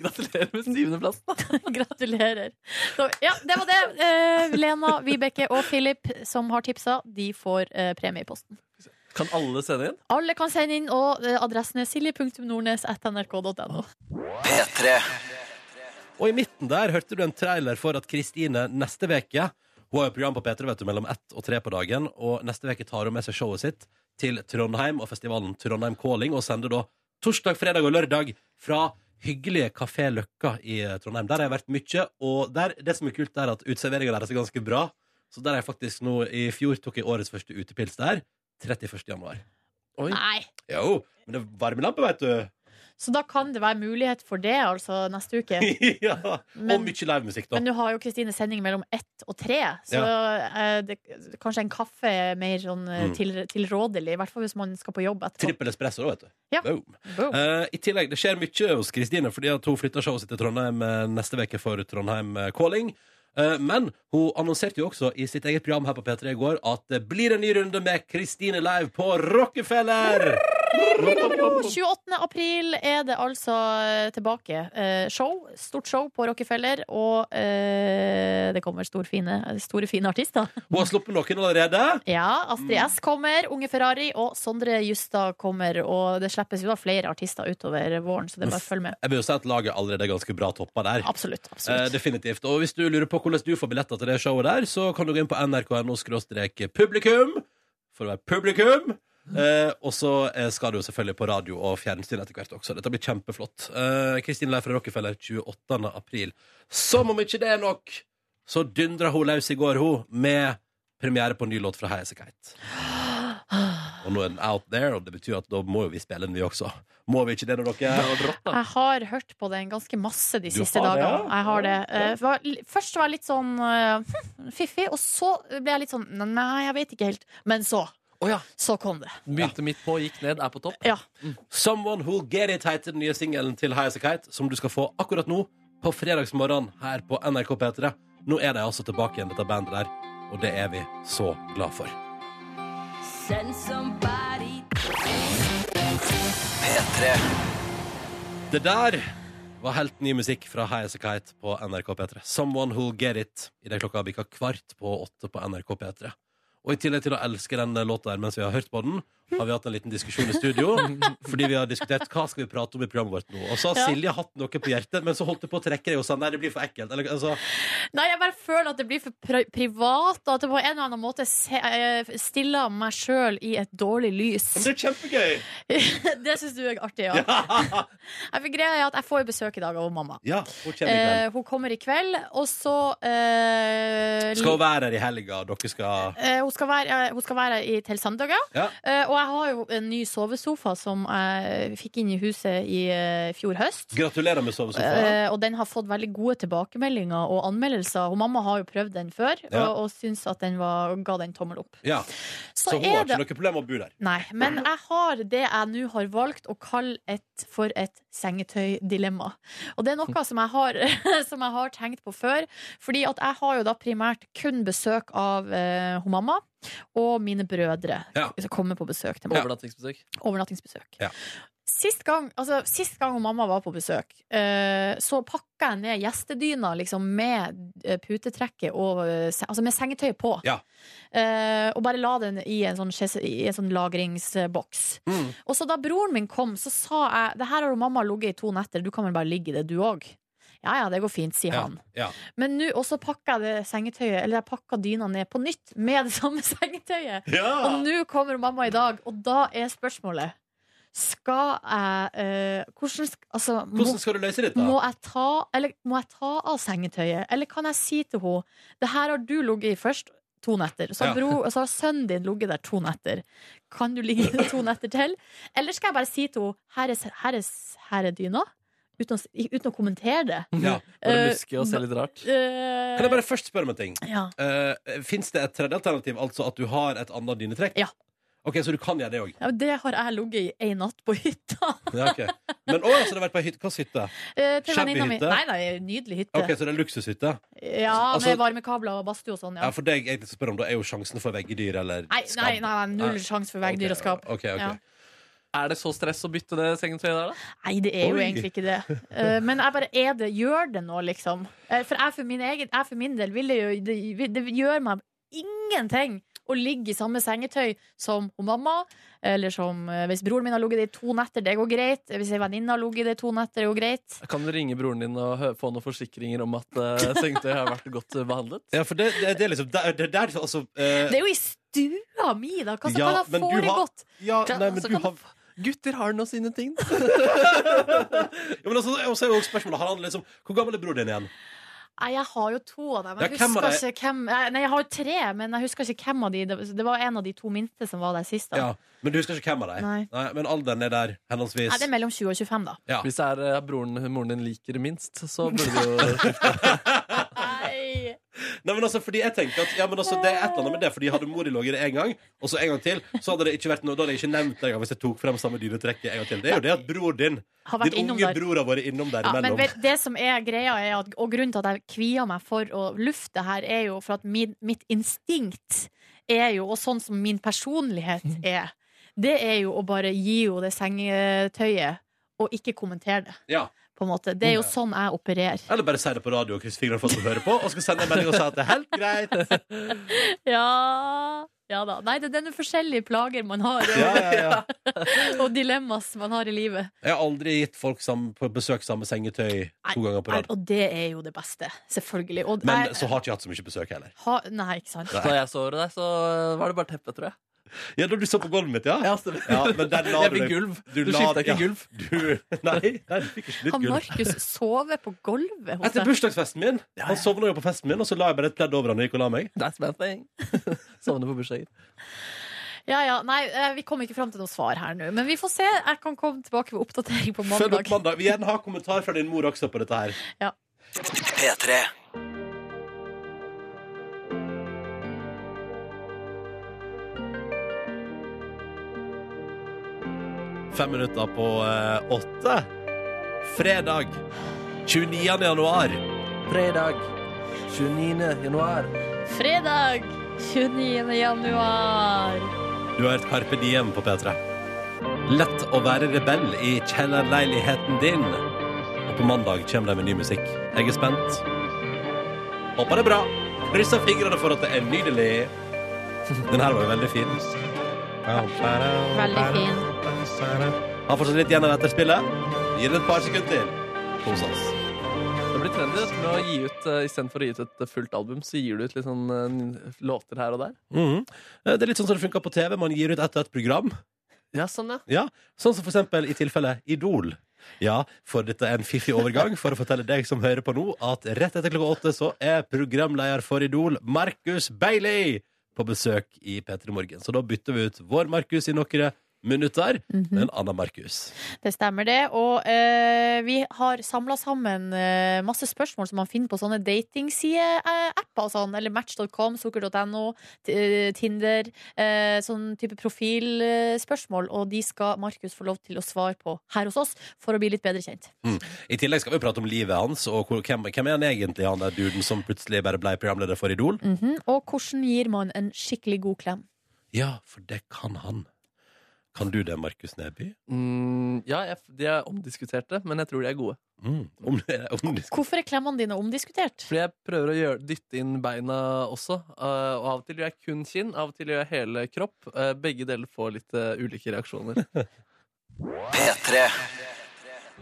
Speaker 3: Gratulerer med syvendeplassen, da.
Speaker 5: <laughs> Gratulerer. Så, ja, det var det. Eh, Lena, Vibeke og Philip som har tipsa, de får eh, premie i posten.
Speaker 3: Kan alle sende inn?
Speaker 5: Alle kan sende inn, og eh, adressen er silje.nordnes.nrk.no.
Speaker 1: P3
Speaker 4: Og i midten der hørte du en trailer for at Kristine neste veke Hun har jo program på P3 vet du, mellom ett og tre på dagen, og neste veke tar hun med seg showet sitt til Trondheim og festivalen Trondheim Calling, og sender da torsdag, fredag og lørdag fra hyggelige Kafé Løkka i eh, Trondheim. Der har jeg vært mye, og der, det som er kult, er at uteserveringa deres er ganske bra. Så der er jeg faktisk nå I fjor tok jeg årets første utepils der. 31. januar.
Speaker 5: Nei.
Speaker 4: Jo, men det er varmelampe, veit du. <laughs>
Speaker 5: Så da kan det være mulighet for det altså neste uke.
Speaker 4: <laughs> ja. og
Speaker 5: Men-
Speaker 4: mye livemusikk, da.
Speaker 5: Men nå har jo Kristine sending mellom ett og tre, så eh, det, kanskje en kaffe er mer sånn eh,
Speaker 4: Mm.
Speaker 5: til, tilrådelig. I hvert fall hvis man skal på jobb etterpå.
Speaker 4: Trippel espresso, da, vet du.
Speaker 5: Ja.
Speaker 4: Boom.
Speaker 5: Boom.
Speaker 4: Eh, I tillegg, Det skjer mye hos Kristine, fordi at hun flytter showet sitt til Trondheim eh, neste uke for Trondheim eh, Calling. Eh, men hun annonserte jo også i sitt eget program her på P3 i går at det blir en ny runde med Kristine live på Rockefeller!
Speaker 5: 28. april er det altså eh, tilbake. Eh, show. Stort show på Rockefeller, og eh, det kommer stor fine, store, fine artister.
Speaker 4: Hun har sluppet noen allerede.
Speaker 5: Ja, Astrid S kommer, Unge Ferrari og Sondre Justad kommer. Og det slippes jo da flere artister utover våren, så det er bare å følge med.
Speaker 4: Jeg vil jo si at laget allerede er ganske bra toppa der.
Speaker 5: Absolutt.
Speaker 4: Eh,
Speaker 5: absolutt.
Speaker 4: definitivt. Og hvis du lurer på hvordan du får billetter til det showet der, så kan du gå inn på nrk.no-publikum for å være publikum. Eh, og så eh, skal du jo selvfølgelig på radio og fjernsyn etter hvert også. Dette blir kjempeflott. Eh, Kristin Leif fra Rockefeller 28. april. Som om ikke det er nok, så dundra hun løs i går, hun, med premiere på en ny låt fra Highasakite. Og nå er den out there, og det betyr at da må jo vi spille den, vi også. Må vi ikke det, da, dere?
Speaker 5: Jeg har hørt på den ganske masse de
Speaker 4: Du
Speaker 5: siste
Speaker 4: har det,
Speaker 5: dagene.
Speaker 4: ja?
Speaker 5: Jeg har det. Eh, var, li- først var jeg litt sånn eh, hm, fiffig, og så ble jeg litt sånn Nei, jeg vet ikke helt. Men så. Så kom det.
Speaker 3: Begynte midt på, gikk ned, er på topp.
Speaker 5: Ja.
Speaker 4: Someone Who'll Get It heter den nye singelen til High As A Kite, som du skal få akkurat nå, på fredagsmorgen her på NRK P3. Nå er de altså tilbake igjen, dette bandet der, og det er vi så glad for. Det der var helt ny musikk fra High As A Kite på NRK P3. Someone Who'll Get It i det klokka bikka kvart på åtte på NRK P3. Og i tillegg til å elske den låta her mens vi har hørt på den, har vi hatt en liten diskusjon i studio. Fordi vi har diskutert hva skal vi prate om i programmet vårt nå. Og så har
Speaker 5: Ja.
Speaker 4: Silje hatt noe på hjertet, men så holdt du på å trekke deg og sa nei, det blir for ekkelt. Eller, altså,
Speaker 5: Nei, jeg bare føler at det blir for pri privat, og at det på en eller annen måte se, eh, stiller meg sjøl i et dårlig lys.
Speaker 4: men <laughs> det er kjempegøy!
Speaker 5: <laughs> det syns du er artig, ja. Jeg fikk greia er at jeg får besøk i dag av mamma.
Speaker 4: Ja, hun kommer i kveld.
Speaker 5: Eh, hun kommer i kveld, og så eh,
Speaker 4: Skal hun være her i helga, og dere skal
Speaker 5: Eh, hun, skal være, eh, hun skal være her i- til søndag, ja.
Speaker 4: Ja.
Speaker 5: Eh, og jeg har jo en ny sovesofa som jeg fikk inn i huset i eh, fjor høst.
Speaker 4: Gratulerer med sovesofaen.
Speaker 5: Eh, og den har fått veldig gode tilbakemeldinger og anmeldelser. Og mamma har jo prøvd den før
Speaker 4: Ja.
Speaker 5: og, og syns at den var, ga den tommel opp.
Speaker 4: Ja. Så hun har ikke noe problem med å bo der.
Speaker 5: Nei, men jeg har det jeg nå har valgt å kalle et for et sengetøydilemma. Og det er noe som jeg har, <laughs> som jeg har tenkt på før. Fordi at jeg har jo da primært kun besøk av eh, hun mamma og mine brødre.
Speaker 4: Ja.
Speaker 5: Som kommer på besøk til meg.
Speaker 3: Overnattingsbesøk.
Speaker 5: Overnattingsbesøk.
Speaker 4: Ja.
Speaker 5: Sist gang, altså, sist gang hun mamma var på besøk, eh, så pakka jeg ned gjestedyna liksom, med eh, putetrekket og eh, se- Altså med sengetøy på.
Speaker 4: Ja.
Speaker 5: Eh, og bare la den i en sånn, skjes- i en sånn lagringsboks.
Speaker 4: Mm.
Speaker 5: Og så da broren min kom, så sa jeg Det her har jo mamma ligget i to netter, du kan vel bare ligge i det, du òg? Ja ja, det går fint, sier
Speaker 4: Ja,
Speaker 5: han.
Speaker 4: ja.
Speaker 5: Men nå også pakka jeg det sengetøyet, eller jeg pakka dyna ned på nytt med det samme <laughs> sengetøyet. Og
Speaker 4: Ja!
Speaker 5: nå kommer mamma i dag, og da er spørsmålet Skal jeg eh, Hvordan sk- Altså, må,
Speaker 4: Hvordan skal du løse dette?
Speaker 5: må, jeg ta, eller, må jeg ta av sengetøyet? Eller kan jeg si til henne Det her har du ligget i først to netter. Så har,
Speaker 4: Ja.
Speaker 5: bro, så har sønnen din ligget der to netter. Kan du ligge <laughs> i det to netter til? Eller skal jeg bare si til henne her, er s- her, er s- her er dyna? Uten å, s- uten å kommentere det.
Speaker 4: Ja.
Speaker 3: Bare
Speaker 5: Eh,
Speaker 3: luske og se litt rart.
Speaker 5: Eh,
Speaker 4: Kan jeg bare først spørre om en ting?
Speaker 5: ja.
Speaker 4: Uh, Fins det et tredje alternativ, altså at du har et annet dynetrekk?
Speaker 5: Ja.
Speaker 4: Ok, Så du kan gjøre det òg?
Speaker 5: ja, det har jeg ligget i en natt på hytta. <laughs>
Speaker 4: Ja, ok. Men å, så det har vært på hytte. Hvilken hytte?
Speaker 5: Eh, til
Speaker 4: Shabby
Speaker 5: venninna mi.
Speaker 4: hytte?
Speaker 5: Nei, nei, nydelig hytte.
Speaker 4: Ok, Så det er luksushytte?
Speaker 5: Ja,
Speaker 4: Altså-
Speaker 5: med varmekabler og badstue og sånn.
Speaker 4: Ja,
Speaker 5: Ja.
Speaker 4: For deg egentlig spør om da er jo sjansen for veggedyr eller
Speaker 5: Nei,
Speaker 4: skam.
Speaker 5: nei, nei, nei, null
Speaker 4: Nei.
Speaker 5: sjanse for veggdyr og skap.
Speaker 4: Ok, ok, ok.
Speaker 5: Ja.
Speaker 3: Er det så stress å bytte det sengetøyet der, da?
Speaker 5: Nei, det er jo
Speaker 4: Oi.
Speaker 5: egentlig ikke det. Eh, men jeg bare er det. Gjør det nå, liksom. Eh, for jeg for min, egen, jeg for min del ville jo det, det gjør meg ingenting å ligge i samme sengetøy som hun mamma. Eller som eh, hvis broren min har ligget det i to netter, det går greit. Hvis ei venninne har ligget det i to netter, det går greit.
Speaker 3: Kan du ringe broren din og hø- få noen forsikringer om at <laughs> eh, sengetøy har vært godt eh, behandlet?
Speaker 4: Ja, for det, det, det er liksom der, det er der altså eh,
Speaker 5: Det er jo i stua mi, da! Hva som
Speaker 4: Ja,
Speaker 5: kan
Speaker 4: men
Speaker 5: ha
Speaker 4: du har-
Speaker 5: foregått?
Speaker 4: Ja, nei, men
Speaker 3: Så
Speaker 4: du
Speaker 3: kan
Speaker 4: har
Speaker 3: Gutter har nå sine <laughs> ting.
Speaker 4: ja, men altså, Og så er jo også spørsmålet har han liksom, Hvor gammel er broren din igjen?
Speaker 5: Nei, jeg har jo to av dem. Jeg
Speaker 4: Ja, hvem av
Speaker 5: husker ikke hvem eh, Nei, jeg har jo tre, men jeg husker ikke hvem av de. Det- Det var en av de to minste som var der sist. Da.
Speaker 4: Ja, Men du husker ikke hvem av dem?
Speaker 5: Nei.
Speaker 4: men alderen er der henholdsvis.
Speaker 5: Nei, det er mellom 20 og 25, da.
Speaker 4: ja.
Speaker 3: Hvis det er eh, broren moren din liker minst, så burde du <laughs> jo
Speaker 5: Nei.
Speaker 4: Nei, men altså, fordi jeg tenkte at Ja, men altså, det er et eller annet med det Fordi hadde mor i logget det en gang Og så en gang til Så hadde det ikke vært noe Da hadde jeg ikke nevnt det en gang Hvis jeg tok frem samme dynetrekket en gang til Det er jo det at bror din
Speaker 5: Har vært
Speaker 4: Din
Speaker 5: innom
Speaker 4: unge
Speaker 5: der.
Speaker 4: bror har vært innom der
Speaker 5: Ja, men
Speaker 4: imellom
Speaker 5: vet, det som er greia er at, Og grunnen til at jeg kvier meg for å lufte det her, er jo for at min, mitt instinkt er jo, og sånn som min
Speaker 4: Mm.
Speaker 5: personlighet er, det er jo å bare gi henne det sengetøyet og ikke kommentere det.
Speaker 4: Ja
Speaker 5: På en måte. Det er jo
Speaker 4: Mm.
Speaker 5: sånn jeg opererer.
Speaker 4: Eller bare si det på radio Og kryss fingrene for at du hører på Og skal sende en melding og si at det er helt
Speaker 5: <laughs>
Speaker 4: greit
Speaker 5: Ja, ja da. Nei, det, det er noen forskjellige plager man har, og,
Speaker 4: Ja, ja, ja
Speaker 5: og dilemmas man har i livet.
Speaker 4: Jeg har aldri gitt folk sammen, på besøk samme sengetøy To ganger på
Speaker 5: Nei,
Speaker 4: rad
Speaker 5: og det er jo det beste, selvfølgelig. Og,
Speaker 4: Men
Speaker 5: jeg-
Speaker 4: så har ikke jeg hatt så mye besøk heller
Speaker 5: ha, Nei, ikke sant.
Speaker 3: Da jeg så deg, så eh, var det bare teppet, tror jeg.
Speaker 4: Ja, da du så på gulvet mitt, ja
Speaker 3: stemmer.
Speaker 4: Ja, men der la
Speaker 3: jeg
Speaker 4: du
Speaker 3: fikk
Speaker 4: deg-
Speaker 3: gulv. Du,
Speaker 4: du la-
Speaker 3: skifta
Speaker 4: ja.
Speaker 3: ikke gulv.
Speaker 4: Du, nei, nei, du fikk ikke nytt
Speaker 5: Har
Speaker 4: gulv <laughs>
Speaker 5: Markus sovet på gulvet hos
Speaker 4: Etter
Speaker 5: deg?
Speaker 4: bursdagsfesten min Han sovna jo på
Speaker 3: <laughs>
Speaker 4: festen min Og så la jeg bare et pledd over han og gikk og la meg
Speaker 3: That's my thing. Sovner på bursdager.
Speaker 5: Ja, ja, nei, eh, Vi kom ikke fram til noe svar her nå, men vi får se. Jeg kan komme tilbake med oppdatering på
Speaker 4: Følg opp
Speaker 5: mandag.
Speaker 4: mandag. Vi gjerne har kommentar fra din mor også på dette her.
Speaker 5: Ja.
Speaker 4: P3. Fem minutter på eh, åtte. Fredag 29. januar.
Speaker 3: Fredag 29. januar.
Speaker 5: Fredag 29. januar.
Speaker 4: Du har hørt Carpe Diem på P3. Lett å være rebell i kjellerleiligheten din. Og på mandag kommer de med ny musikk. Jeg er spent. Håper det er bra. Krysser fingrene for at det er nydelig. Den her var jo veldig fin.
Speaker 5: Veldig fin.
Speaker 4: Har fortsatt litt igjen av etterspillet. Gi det et par sekunder til. Kos oss.
Speaker 3: Det blir trendy vet du, med å gi ut eh, istedenfor å gi ut et fullt album, så gir du ut litt sånn eh, låter her og der.
Speaker 4: Mhm. Eh, Det er litt sånn som det funker på TV. Man gir ut ett og ett program.
Speaker 3: Ja, sånn, ja.
Speaker 4: Ja, Sånn som for eksempel i tilfellet Idol. Ja, for dette er en fiffig overgang for å fortelle deg som hører på nå, at rett etter klokka åtte så er programleder for Idol, Markus Bailey, på besøk i P3 Morgen. Så da bytter vi ut vår Markus i noen minutter med en annen Markus.
Speaker 5: Det stemmer, det. Og eh, vi har samla sammen eh, masse spørsmål som man finner på sånne datingsideapper og sånn. Eller match.com, sukker.no, t- eh, Tinder. eh, sånn type profilspørsmål. Og de skal Markus få lov til å svare på her hos oss for å bli litt bedre kjent.
Speaker 4: Mm. I tillegg skal vi prate om livet hans, og hvor, hvem, hvem er han egentlig, han der duden som plutselig bare ble programleder for Idol?
Speaker 5: Mhm. Og hvordan gir man en skikkelig god klem?
Speaker 4: Ja, for det kan han. Kan du det, Markus Neby?
Speaker 3: Mm, ja jeg, de er omdiskuterte, men jeg tror de er gode.
Speaker 4: Mm. Om, om du
Speaker 5: Hvorfor er klemmene dine omdiskutert?
Speaker 3: Fordi jeg prøver å gjøre, dytte inn beina også. eh, og av og til gjør jeg kun kinn, av og til gjør jeg hele kropp. Eh, begge deler får litt eh, ulike reaksjoner.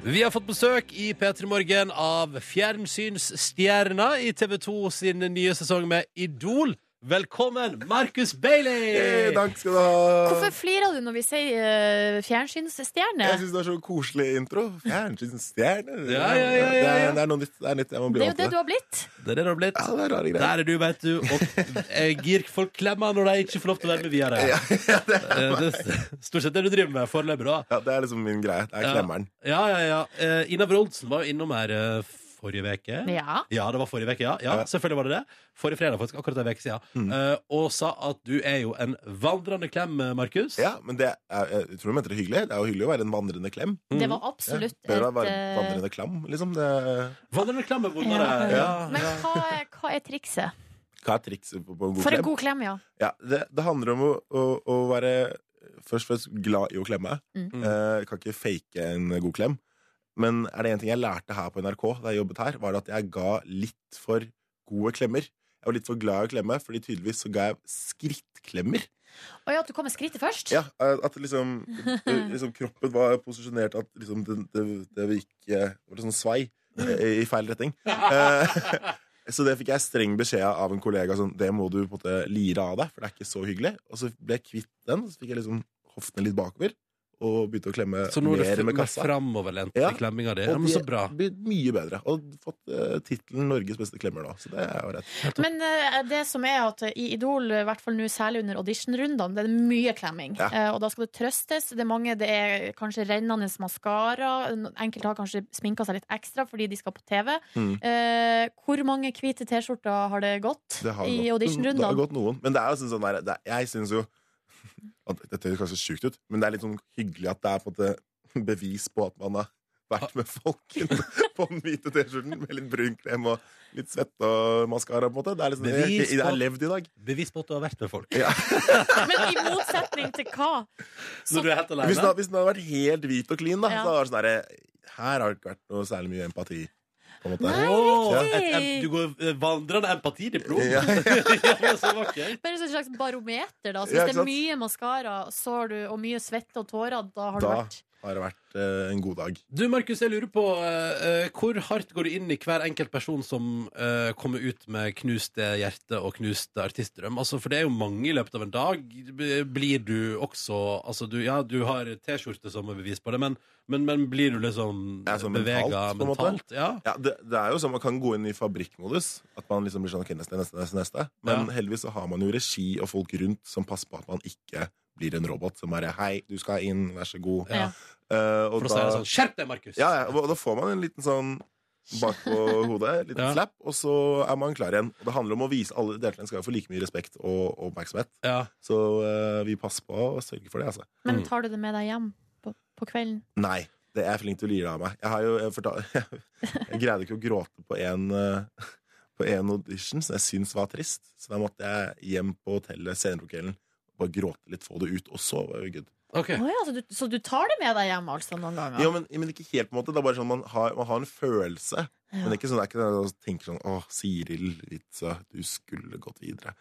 Speaker 4: Vi har fått besøk i P3 Morgen av fjernsynsstjerna i TV 2 sin nye sesong med Idol. Velkommen, Markus Bailey!
Speaker 11: Hey, takk skal du ha.
Speaker 5: Hvorfor flirer du når vi sier eh, fjernsynsstjerne?
Speaker 11: Jeg syns det er så koselig intro. Fjernsynsstjerne.
Speaker 5: Ja, ja, ja, ja,
Speaker 11: Det,
Speaker 5: ja.
Speaker 11: er- det er noe nytt. Det er nytt. Jeg må
Speaker 5: Det
Speaker 11: bli
Speaker 5: er jo
Speaker 11: vant
Speaker 5: det du
Speaker 11: til det.
Speaker 5: har blitt.
Speaker 4: Det er det du har blitt.
Speaker 11: Ja, det er rare greier.
Speaker 4: Der er du, vet du. Og eh, gir folk klemmer når de ikke får lov til å være med videre.
Speaker 11: <laughs>
Speaker 4: Eh, det er stort sett det du driver med foreløpig, da.
Speaker 11: Ja, det er liksom min greie. Det er klemmeren.
Speaker 4: Ja, ja, ja. Eh, Ina Brolsen var jo innom her eh, forrige uke.
Speaker 5: Ja.
Speaker 4: det var forrige uke, ja. ja. Selvfølgelig var det det. Forrige fredag, faktisk. Akkurat en uke siden.
Speaker 11: Mm.
Speaker 4: Eh, og sa at du er jo en vandrende klem, eh, Markus.
Speaker 11: Ja, men det er, jeg tror du mente det hyggelig. Det er jo hyggelig å være en vandrende klem.
Speaker 5: Det var absolutt
Speaker 11: Mm. ja. Bør da
Speaker 5: et,
Speaker 11: være
Speaker 5: eh,
Speaker 11: vandrende klam, liksom. Det...
Speaker 4: Vandrende eh, klam er
Speaker 5: Ja.
Speaker 11: Ja.
Speaker 5: Men hva er, hva er trikset?
Speaker 11: Hva er trikset på på en god
Speaker 5: For en
Speaker 11: klem?
Speaker 5: god klem, ja.
Speaker 11: Ja, det, det handler om å, å, å være først og fremst glad i å klemme.
Speaker 5: Mm.
Speaker 11: Eh, kan ikke fake en god klem. Men er det én ting jeg lærte her på NRK, da jeg jobbet her, var det at jeg ga litt for gode klemmer. Jeg var litt for glad i å klemme, fordi tydeligvis så ga jeg skrittklemmer.
Speaker 5: Å ja, at du kommer skrittet først?
Speaker 11: Ja, eh, at liksom, <laughs> eh, liksom kroppen var posisjonert at liksom det, det, det gikk eh, Det var litt sånn svei eh, i feil retning. Eh, <laughs> Så det fikk jeg streng beskjed av en kollega sånn Det må du på en måte lire av deg, for det er ikke så hyggelig. Og så ble jeg kvitt den, og så fikk jeg liksom hoftene litt bakover. Og begynte å klemme
Speaker 4: Så nå er det fr-
Speaker 11: mer med
Speaker 4: mer
Speaker 11: kassa.
Speaker 4: framoverlent i
Speaker 11: Ja,
Speaker 4: klemminga di.
Speaker 11: og
Speaker 4: Ja, men
Speaker 11: det
Speaker 4: så bra.
Speaker 11: blir mye bedre. Og fått uh, tittelen 'Norges beste klemmer' nå. Så det er jo rett.
Speaker 5: Men eh, det som er at i Idol, eh, i hvert fall nå særlig under auditionrundene, det er mye klemming.
Speaker 11: Ja.
Speaker 5: Eh, og da skal det trøstes. Det er mange, det er kanskje rennende maskara. Enkelte har kanskje sminka seg litt ekstra fordi de skal på TV.
Speaker 11: Mm.
Speaker 5: Eh, hvor mange hvite T-skjorter har det gått
Speaker 11: Det har
Speaker 5: i
Speaker 11: gått- Det har
Speaker 5: auditionrundene?
Speaker 11: gått noen. Men det er jo sånn sånn der, det, er- jeg syns jo <laughs> at, Dette høres kanskje sjukt ut, men det er litt sånn hyggelig at det er på en måte bevis på at man har vært med folk <laughs> på den hvite T-skjorten med litt brun krem og litt svette og maskara. på en måte. Det er liksom,
Speaker 4: Bevis
Speaker 11: jeg, jeg har
Speaker 4: på-
Speaker 11: levd i dag.
Speaker 4: Bevis på at du har vært med folk.
Speaker 5: <laughs> Men i motsetning til hva?
Speaker 11: <laughs>
Speaker 4: Når du er helt
Speaker 11: Hvis den,
Speaker 4: alene.
Speaker 11: hadde- hvis den hadde vært helt hvit og clean, da,
Speaker 5: Ja.
Speaker 11: så hadde det vært sånn derre Her har det ikke vært noe særlig mye empati. På en måte.
Speaker 4: Åh,
Speaker 11: Ja.
Speaker 4: et, et, du går eh, vandrende empatidiplom.
Speaker 11: Ja.
Speaker 4: <laughs> ja, men så vakkert.
Speaker 5: Bare et slags barometer, da. Så
Speaker 11: Ja,
Speaker 5: hvis
Speaker 11: ikke
Speaker 5: det er
Speaker 11: sant?
Speaker 5: mye maskara så har du, og mye svette og tårer, da har du
Speaker 11: Da
Speaker 5: vært
Speaker 11: har det vært eh, en god dag.
Speaker 4: Du, Markus, jeg lurer på eh, eh, hvor hardt går du inn i hver enkelt person som eh, kommer ut med knuste hjerte og knuste artistdrøm? Altså, for det er jo mange i løpet av en dag. B- Blir du også altså, du, Ja, du har T-skjorte som er bevis på det, men, men, men blir du liksom
Speaker 11: Ja, så mentalt,
Speaker 4: bevega
Speaker 11: på en måte.
Speaker 4: mentalt? Ja.
Speaker 11: Ja, det, det er jo sånn Man kan gå inn i fabrikkmodus. At man liksom blir sånn, ok, neste, neste, neste, neste Men heldigvis så har man jo regi og folk rundt som passer på at man ikke blir en robot som bare Hei, du skal inn, vær så god.
Speaker 4: Ja.
Speaker 11: Eh, og
Speaker 4: For å si det sånn, «Skjerp deg, Markus!»
Speaker 11: Ja, ja, og da får man en liten sånn bak på hodet, en liten
Speaker 4: Ja.
Speaker 11: slapp, og så er man klar igjen. Og det handler om å vise alle deltakerne skal jo få like mye respekt og og oppmerksomhet. Så eh, vi passer på og sørger for det, altså.
Speaker 5: Men tar du det med deg hjem på, på kvelden?
Speaker 11: Nei. Det er jeg flink til å lire av meg. Jeg, har jo, jeg, fortal, <laughs> jeg, greide ikke å gråte på en, eh, på en audition som jeg syntes var trist. Så da måtte jeg hjem på hotellet senere på kvelden bare gråte litt, få det ut, og så var det good.
Speaker 5: Å ja, så, du, så du tar det med deg hjem altså noen ganger?
Speaker 11: Ja, men, men ikke helt på en måte. Det er bare sånn man har, man har en følelse. Men det er ikke sånn det er ikke sånn at man tenker sånn Å, Siril Witzøe, du skulle gått videre.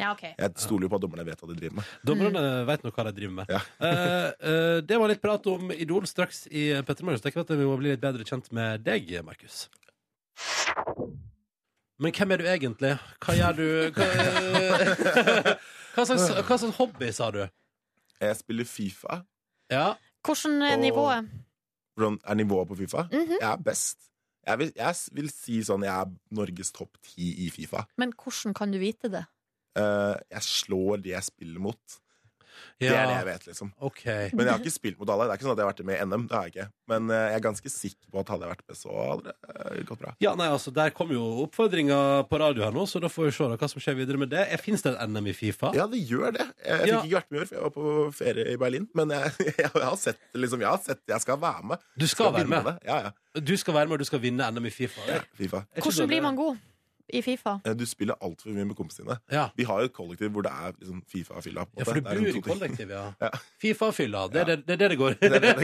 Speaker 5: Ja, ok.
Speaker 11: Jeg stoler jo på at dommerne vet hva de driver med.
Speaker 4: Dommerne vet nå hva de driver med. <laughs> Eh, eh, det var litt prat om Idol straks i Petter Morgen. Så tenker jeg at vi må bli litt bedre kjent med deg, Markus. Men hvem er du egentlig? Hva gjør du? Hva, hva, <laughs> slags, hva slags hobby, sa du?
Speaker 11: Jeg spiller Fifa.
Speaker 4: Ja.
Speaker 5: Hvordan er
Speaker 11: Og-
Speaker 5: nivået?
Speaker 11: Hvordan er nivået på Fifa?
Speaker 5: Mhm.
Speaker 11: Jeg er best. Jeg vil, jeg s- vil si sånn jeg er Norges topp ti i Fifa.
Speaker 5: Men hvordan kan du vite det?
Speaker 11: Eh, jeg slår de jeg spiller mot. Det
Speaker 4: Ja.
Speaker 11: er det jeg vet, liksom.
Speaker 4: Ok.
Speaker 11: Men jeg har ikke spilt mot alle. Det er ikke sånn at jeg har vært med i NM. Det har jeg ikke. Men eh, jeg er ganske sikker på at hadde jeg vært med, så hadde det eh, gått bra.
Speaker 4: Ja, nei, altså, Der kom jo oppfordringa på radio her nå, så da får vi se da, hva som skjer videre med det. Fins det en NM i Fifa?
Speaker 11: Ja, det gjør det. Jeg fikk
Speaker 4: Ja.
Speaker 11: ikke vært med i år, for jeg var på ferie i Berlin. Men jeg, <laughs> jeg, har sett liksom, jeg har sett Jeg skal være med.
Speaker 4: Du skal være
Speaker 11: vinne
Speaker 4: med.
Speaker 11: det. Ja, ja.
Speaker 4: Du skal være med, og du skal vinne NM i Fifa. Ja.
Speaker 11: FIFA.
Speaker 5: Hvordan blir man god i Fifa?
Speaker 11: Eh, Du spiller altfor mye med kompisene dine. Vi har jo et kollektiv hvor det er liksom Fifa og fylla. på en
Speaker 4: Ja, for
Speaker 11: måte.
Speaker 4: du
Speaker 11: Det er
Speaker 4: bor i
Speaker 11: liksom to ting. <laughs>
Speaker 4: kollektiv, ja. Fifa og fylla. Det er det det, er det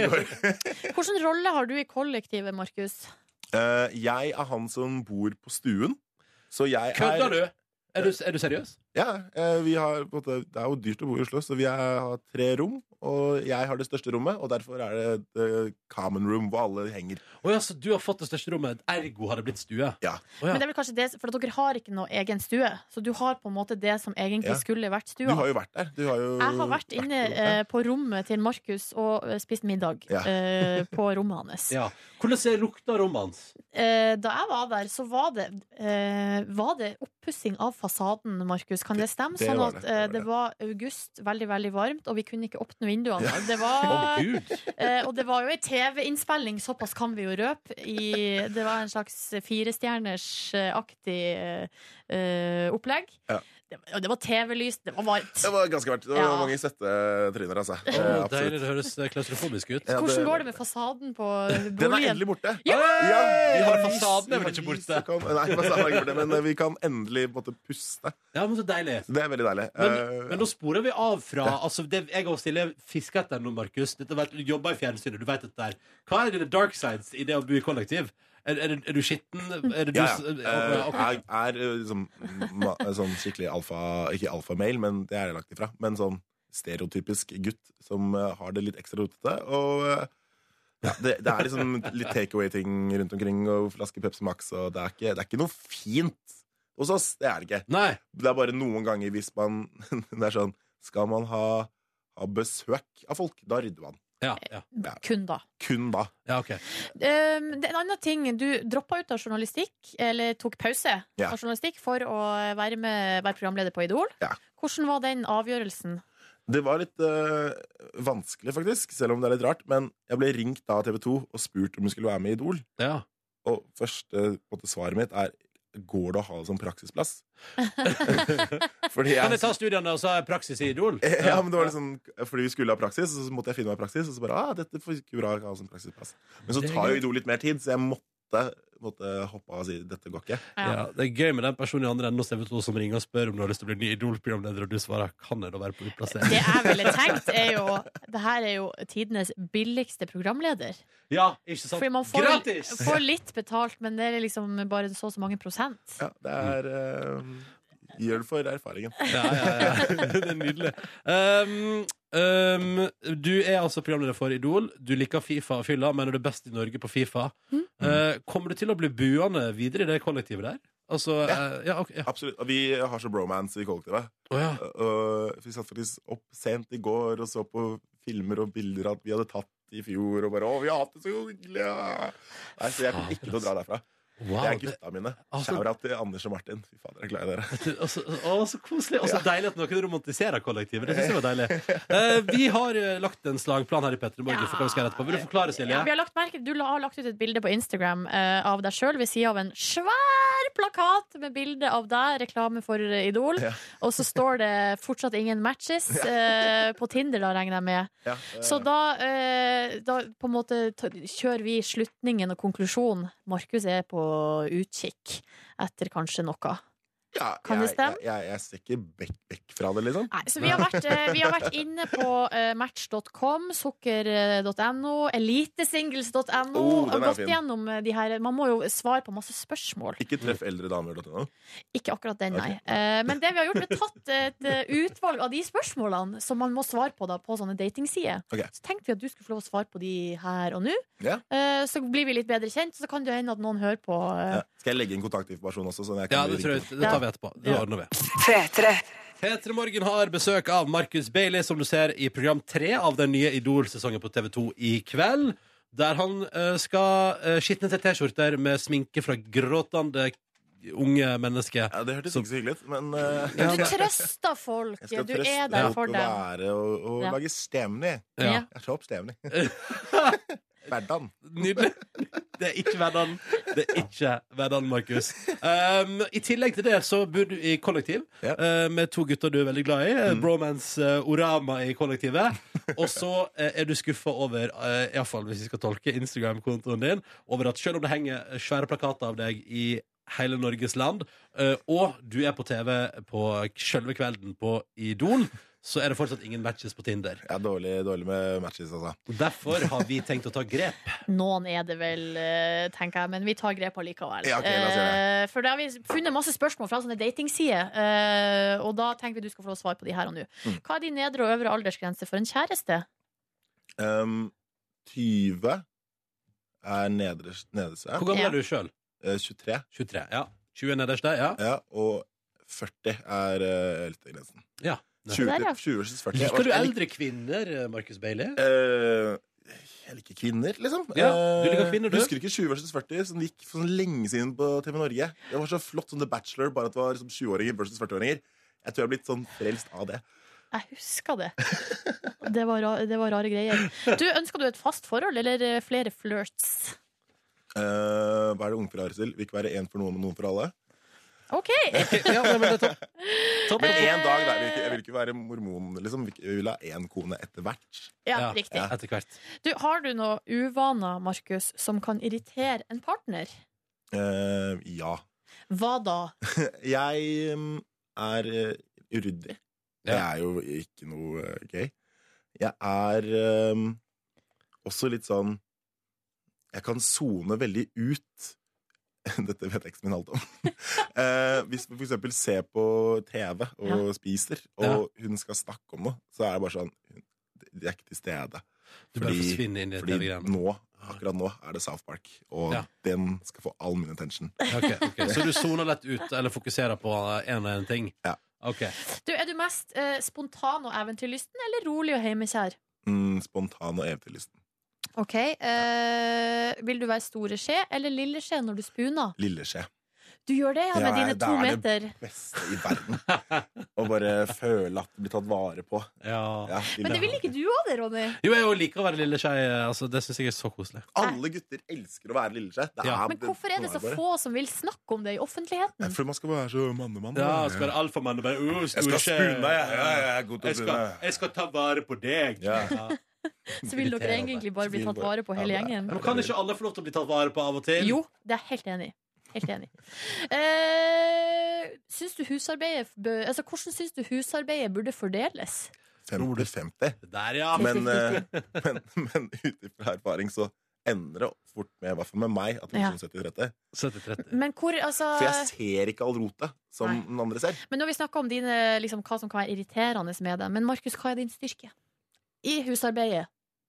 Speaker 4: det går.
Speaker 5: Hvilken rolle har du i kollektivet, Markus?
Speaker 11: Eh, jeg er han som bor på stuen. Så jeg
Speaker 4: <laughs> Kødder
Speaker 11: er
Speaker 4: du? Er du, er du seriøs?
Speaker 11: Ja, eh, vi har, på en måte, det er jo dyrt å bo i Oslo, så vi er, har tre rom. Og jeg har det største rommet, og derfor er det the common room hvor alle henger.
Speaker 4: Å ja, så du har fått det største rommet, ergo har det blitt stue?
Speaker 11: Ja.
Speaker 4: Å ja.
Speaker 5: Men det er vel kanskje det, For dere har ikke noe egen stue, så du har på en måte det som egentlig
Speaker 11: Ja.
Speaker 5: skulle vært
Speaker 11: Du
Speaker 5: stua.
Speaker 11: har jo vært der. Du har jo
Speaker 5: Jeg har vært inne eh, på rommet til Markus og eh, spist middag
Speaker 4: Ja.
Speaker 5: eh, på rommet hans.
Speaker 4: Ja. Hvordan ser lukta rommet hans?
Speaker 5: Eh, da jeg var der, så var det, eh, var det oppussing av fasaden, Markus. Kan det stemme?
Speaker 4: det
Speaker 5: sånn
Speaker 4: var
Speaker 5: at
Speaker 4: det,
Speaker 5: eh, det var august, veldig, veldig varmt, og vi kunne ikke åpne vinduene. Det var,
Speaker 4: Å, Gud.
Speaker 5: eh, og det var jo ei TV-innspilling, såpass kan vi jo røpe. I, det var en slags firestjerners-aktig eh, opplegg.
Speaker 11: Ja.
Speaker 5: Det, og det var TV-lys, det var varmt.
Speaker 11: Det var ganske verdt. Det var
Speaker 5: Ja.
Speaker 11: mange svette tryner, altså. Eh,
Speaker 4: Å,
Speaker 11: absolutt.
Speaker 4: deilig, det høres klaustrofobisk ut.
Speaker 11: Ja,
Speaker 5: Hvordan går det med fasaden på boligen?
Speaker 11: Den er endelig borte.
Speaker 5: Ja!
Speaker 11: vi har
Speaker 4: Men
Speaker 11: lys,
Speaker 4: fasaden er
Speaker 11: vi
Speaker 4: vel
Speaker 11: har
Speaker 4: ikke
Speaker 11: lys,
Speaker 4: borte?
Speaker 11: vi Kan, nei, fasaden er ikke borte, men eh, vi kan endelig på en måte, puste.
Speaker 4: Ja, men så deilig.
Speaker 11: Det er veldig deilig.
Speaker 4: Men,
Speaker 11: Eh,
Speaker 4: men da sporer vi av fra altså, det, Jeg og Silje fisker etter noe, Markus. Dette vet- Du jobber i fjernsynet. Du vet dette der. Hva er dine dark sides i det å bo i kollektiv? Er, er, du- er du skitten? Er det du
Speaker 11: ja,
Speaker 4: s-
Speaker 11: ja.
Speaker 4: ja,
Speaker 11: Eh,
Speaker 4: ok.
Speaker 11: Jeg er eh, liksom ma, sånn skikkelig alfa Ikke alfamail, men det er jeg lagt ifra. Men sånn stereotypisk gutt som eh, har det litt ekstra rotete. Og eh, ja, det, det er liksom litt takeaway-ting rundt omkring, og flaske Pepsi Max, og det er ikke, det er ikke noe fint hos oss. Det er det ikke. Det er bare noen ganger hvis man <laughs> Det er sånn Skal man ha, ha besøk av folk, da rydder man.
Speaker 5: Kun da.
Speaker 11: Kun da.
Speaker 4: Ja, ok.
Speaker 5: Um, det er en annen ting. Du droppa ut av journalistikk, eller tok pause
Speaker 11: Ja.
Speaker 5: av journalistikk for å være, med, være programleder på Idol. Hvordan var den avgjørelsen?
Speaker 11: Det var litt eh, vanskelig, faktisk, selv om det er litt rart. Men jeg ble ringt av TV 2 og spurt om jeg skulle være med i Idol. Og første på en måte, svaret mitt er Går det å ha det som praksisplass? <laughs> Fordi
Speaker 4: Kan jeg ta studiene og så har jeg praksis i Idol?
Speaker 11: <laughs> Ja, men det var liksom Fordi vi skulle ha praksis, og så måtte jeg finne meg praksis. Og så bare, ah, dette får ikke bra å ha som praksisplass Men så
Speaker 4: Det er
Speaker 11: tar
Speaker 4: gøy.
Speaker 11: jo Idol litt mer tid, så jeg måtte, måtte hoppe av og si dette går ikke.
Speaker 4: Ja, det er gøy med den personen i andre enden hos TV2 som ringer og spør om du har lyst til å bli ny Idol-programleder, og du svarer 'kan jeg da være på utplassering'?
Speaker 5: Det jeg ville tenkt, er jo Det her er jo tidenes billigste programleder.
Speaker 4: Ja, ikke sant?
Speaker 5: Fordi man får, <laughs>
Speaker 4: Gratis!
Speaker 5: får litt betalt, men det er liksom bare så og så mange prosent.
Speaker 11: Ja, det er
Speaker 4: Mm.
Speaker 11: eh, Gjør det for erfaringen.
Speaker 4: Ja, ja, ja. <laughs> Det er nydelig. Um, um, du er altså programleder for Idol. Du liker Fifa og fylla, mener du er best i Norge på Fifa. Uh, kommer du til å bli buende videre i det kollektivet der? Altså, eh, ja, ok, ja.
Speaker 11: Absolutt. Og vi har så bromance i kollektivet. Og vi satt faktisk opp sent i går og så på filmer og bilder at vi hadde tatt i fjor, og bare 'Å, vi har hatt det så hyggelig', ja. Nei, så jeg kommer ikke til å dra derfra. Wow, det er gutta mine.
Speaker 4: altså-
Speaker 11: Shout-out til Anders og Martin. Fy fader, jeg er glad i dere.
Speaker 4: Og så- altså, Å, så koselig. Og så deilig at noen romantiserer kollektivet. Det synes jeg var deilig. Eh, vi har eh, lagt en slagplan her i Petter Morgen for hva vi skal gjøre etterpå. Vil du forklare, Silje?
Speaker 5: Ja, vi har lagt merke, du la- har lagt ut et bilde på Instagram eh, av deg sjøl ved sida av en svær plakat med bilde av deg, reklame for eh, Idol.
Speaker 11: Ja.
Speaker 5: <laughs> Og så står det fortsatt 'ingen matches' eh, på Tinder, da, regner jeg med.
Speaker 11: Ja, eh,
Speaker 5: Så da, eh, da på en måte ta- kjører vi slutningen og konklusjonen. Markus er på utkikk etter kanskje noe.
Speaker 11: ja,
Speaker 5: kan det
Speaker 11: jeg-
Speaker 5: stemme?
Speaker 11: Jeg, jeg, jeg ser ikke vekk, vekk fra det, liksom.
Speaker 5: Nei, så vi har vært, eh, vi har vært inne på eh, match.com, sukker.no, elitesingles.no.
Speaker 11: Oh, den er
Speaker 5: gått
Speaker 11: fin.
Speaker 5: gjennom eh, de her Man må jo svare på masse spørsmål.
Speaker 11: Ikke treff eldre damer. .no.
Speaker 5: Ikke akkurat den, nei. Eh, Men det vi har gjort, vi har tatt et eh, utvalg av de spørsmålene som man må svare på da på sånne datingsider.
Speaker 11: Ok.
Speaker 5: Så tenkte vi at du skulle få lov å svare på de her og nå.
Speaker 11: Ja.
Speaker 5: Eh, Så blir vi litt bedre kjent, så kan det jo hende at noen hører på. eh,
Speaker 11: Ja. Skal jeg legge inn kontaktinformasjon også? Sånn jeg kan
Speaker 4: Ja,
Speaker 11: bli
Speaker 4: det, tror jeg,
Speaker 11: ringt til?
Speaker 4: det tar vi etterpå. Det
Speaker 11: Ja.
Speaker 4: ordner vi. Petre Morgen har besøk av Markus Bailey, som du ser i program tre av den nye Idol-sesongen på TV2 i kveld. Der han eh, skal eh, skitne til T-skjorter med sminke fra gråtende unge mennesker.
Speaker 11: Ja, det hørtes ikke så hyggelig ut, men eh,
Speaker 4: Ja,
Speaker 5: Du
Speaker 4: det-
Speaker 5: trøster folk!
Speaker 11: jeg
Speaker 5: Du
Speaker 11: skal trøste
Speaker 5: er der
Speaker 11: folk
Speaker 5: for
Speaker 11: og
Speaker 5: dem.
Speaker 11: være og, og
Speaker 5: Ja.
Speaker 11: lage stemning.
Speaker 4: Ja.
Speaker 11: Jeg tar
Speaker 4: <laughs>
Speaker 11: opp stemning. Hverdagen.
Speaker 4: Nydelig. Det er ikke hverdagen. Det er ikke hverdagen, Markus. Um, I tillegg til det så bor du i kollektiv uh, med to gutter du er veldig glad i. Bromance uh, Orama i kollektivet. Og så uh, er du skuffa over, uh, iallfall hvis vi skal tolke Instagram-kontoen din, over at selv om det henger svære plakater av deg i hele Norges land, uh, og du er på TV på sjølve kvelden på Idol, så er det fortsatt ingen matches på Tinder.
Speaker 11: Jeg er dårlig, dårlig med matches, altså.
Speaker 4: Derfor har vi tenkt å ta grep.
Speaker 5: Noen er det vel, eh, tenker jeg, men vi tar grep allikevel.
Speaker 11: Ja, ok, la oss gjøre
Speaker 5: Eh, For da har vi funnet masse spørsmål fra sånne datingsider, eh, og da tenker vi du skal få lov å svare på de her og nå.
Speaker 11: Mm.
Speaker 5: Hva er din nedre og øvre aldersgrense for en kjæreste?
Speaker 11: Um, 20 er nederst, nederste.
Speaker 4: Hvor gammel
Speaker 5: Ja.
Speaker 4: er du sjøl?
Speaker 11: Eh, 23.
Speaker 4: 23, ja. 20 er nederst der, ja.
Speaker 11: Ja, og 40 er uh, eldstegrensen.
Speaker 4: ja.
Speaker 11: 20,
Speaker 5: Der, ja.
Speaker 11: 20 versus 40. Jeg
Speaker 4: Liker du
Speaker 11: var- jeg lik-
Speaker 4: eldre kvinner, Markus Bailey?
Speaker 11: Eh, jeg liker kvinner, liksom.
Speaker 4: Ja, du liker
Speaker 11: Eh,
Speaker 4: kvinner, du.
Speaker 11: Husker ikke 20 versus 40, som gikk for sånn lenge siden på TV Norge. Det var så flott som The Bachelor, bare at det var liksom 20-åringer versus 40-åringer. Jeg tror jeg er blitt sånn frelst av det.
Speaker 5: Jeg husker det.
Speaker 11: <laughs>
Speaker 5: Det var, ra det var rare greier. Du, Ønsker du et fast forhold eller eh, flere flørts?
Speaker 11: Eh, hva er det ungfru har til? Vil ikke være én for noen og noen for alle.
Speaker 5: OK!
Speaker 4: Ja, nei, men det er topp. topp.
Speaker 11: Men én dag der, jeg vil ikke,
Speaker 5: Eh.
Speaker 11: jeg vil ikke være mormon, liksom. Jeg vil ha én kone etter hvert.
Speaker 5: Ja, riktig.
Speaker 4: Etter hvert.
Speaker 5: Du, har du noen uvaner, Markus, som kan irritere en partner?
Speaker 11: Eh, ja.
Speaker 5: Hva da?
Speaker 11: Jeg mm, er eh, uryddig. Det
Speaker 4: Ja.
Speaker 11: er jo ikke noe eh, gøy. Jeg er ehm, også litt sånn Jeg kan sone veldig ut. <laughs> Dette vet eksen min alt
Speaker 5: <laughs>
Speaker 11: om. Eh, hvis vi for eksempel ser på TV og
Speaker 5: Ja.
Speaker 11: spiser, og hun skal snakke om noe, så er det bare sånn De er ikke til stede.
Speaker 4: Du bare
Speaker 11: Fordi-
Speaker 4: forsvinner inn i det
Speaker 11: Fordi
Speaker 4: greiene.
Speaker 11: nå, akkurat nå er det South Park, og
Speaker 4: Ja.
Speaker 11: den skal få all min attention.
Speaker 4: Ok, ok. Så du soner lett ut, eller fokuserer på eh, én og én ting?
Speaker 11: Ja.
Speaker 4: Ok.
Speaker 5: Du, Er du mest eh, spontan og eventyrlysten eller rolig og hjemmekjær?
Speaker 11: Mm, spontan og eventyrlysten.
Speaker 5: Ok, eh, Vil du være store skje eller lille skje når du spuner?
Speaker 11: Lilleskje.
Speaker 5: Du gjør det, ja, med
Speaker 11: Ja,
Speaker 5: dine
Speaker 11: da
Speaker 5: to
Speaker 11: er det-
Speaker 5: meter.
Speaker 11: beste i
Speaker 4: <laughs>
Speaker 11: verden. Å bare føle at det blir tatt vare på.
Speaker 4: Ja.
Speaker 11: Ja,
Speaker 5: Men det vil ikke du òg, det, Ronny.
Speaker 4: Jo, jeg liker å være lille skei. Altså, det syns jeg er så koselig.
Speaker 11: Alle gutter elsker å være lilleskje. Det
Speaker 4: Ja.
Speaker 5: Men hvorfor er det så
Speaker 11: bare-
Speaker 5: få som vil snakke om det i
Speaker 11: Nei,
Speaker 5: offentligheten?
Speaker 11: Fordi man skal være så mannemann.
Speaker 4: Ja, skal være alfamann og bare uh,
Speaker 11: Jeg skal
Speaker 4: stor skje.
Speaker 11: spune deg. Ja, ja, jeg er god til å
Speaker 4: Jeg skal,
Speaker 11: spune.
Speaker 4: jeg skal ta vare på deg.
Speaker 11: Ja.
Speaker 5: Så vil dere
Speaker 4: irriterende.
Speaker 5: egentlig bare bli tatt vare på, hele
Speaker 11: Ja, det er-
Speaker 5: gjengen?
Speaker 4: Men kan ikke alle få lov til å bli tatt vare på av og til?
Speaker 5: Jo, det er jeg helt enig i. Helt enig. Eh, syns du husarbeidet bø- altså, Hvordan syns du husarbeidet burde fordeles?
Speaker 11: 50-50.
Speaker 4: Der, ja.
Speaker 11: Men, eh, <laughs> men, men ut ifra erfaring så ender det fort med, i hvert fall med meg, at det blir
Speaker 5: Ja.
Speaker 11: sånn 70-30.
Speaker 4: 70-30.
Speaker 5: Men hvor, altså
Speaker 11: For jeg ser ikke all rotet som
Speaker 5: Nei.
Speaker 11: den andre ser.
Speaker 5: Men nå har vi snakka om dine, liksom, hva som kan være irriterende med det. Men Markus, hva er din styrke? I husarbeidet.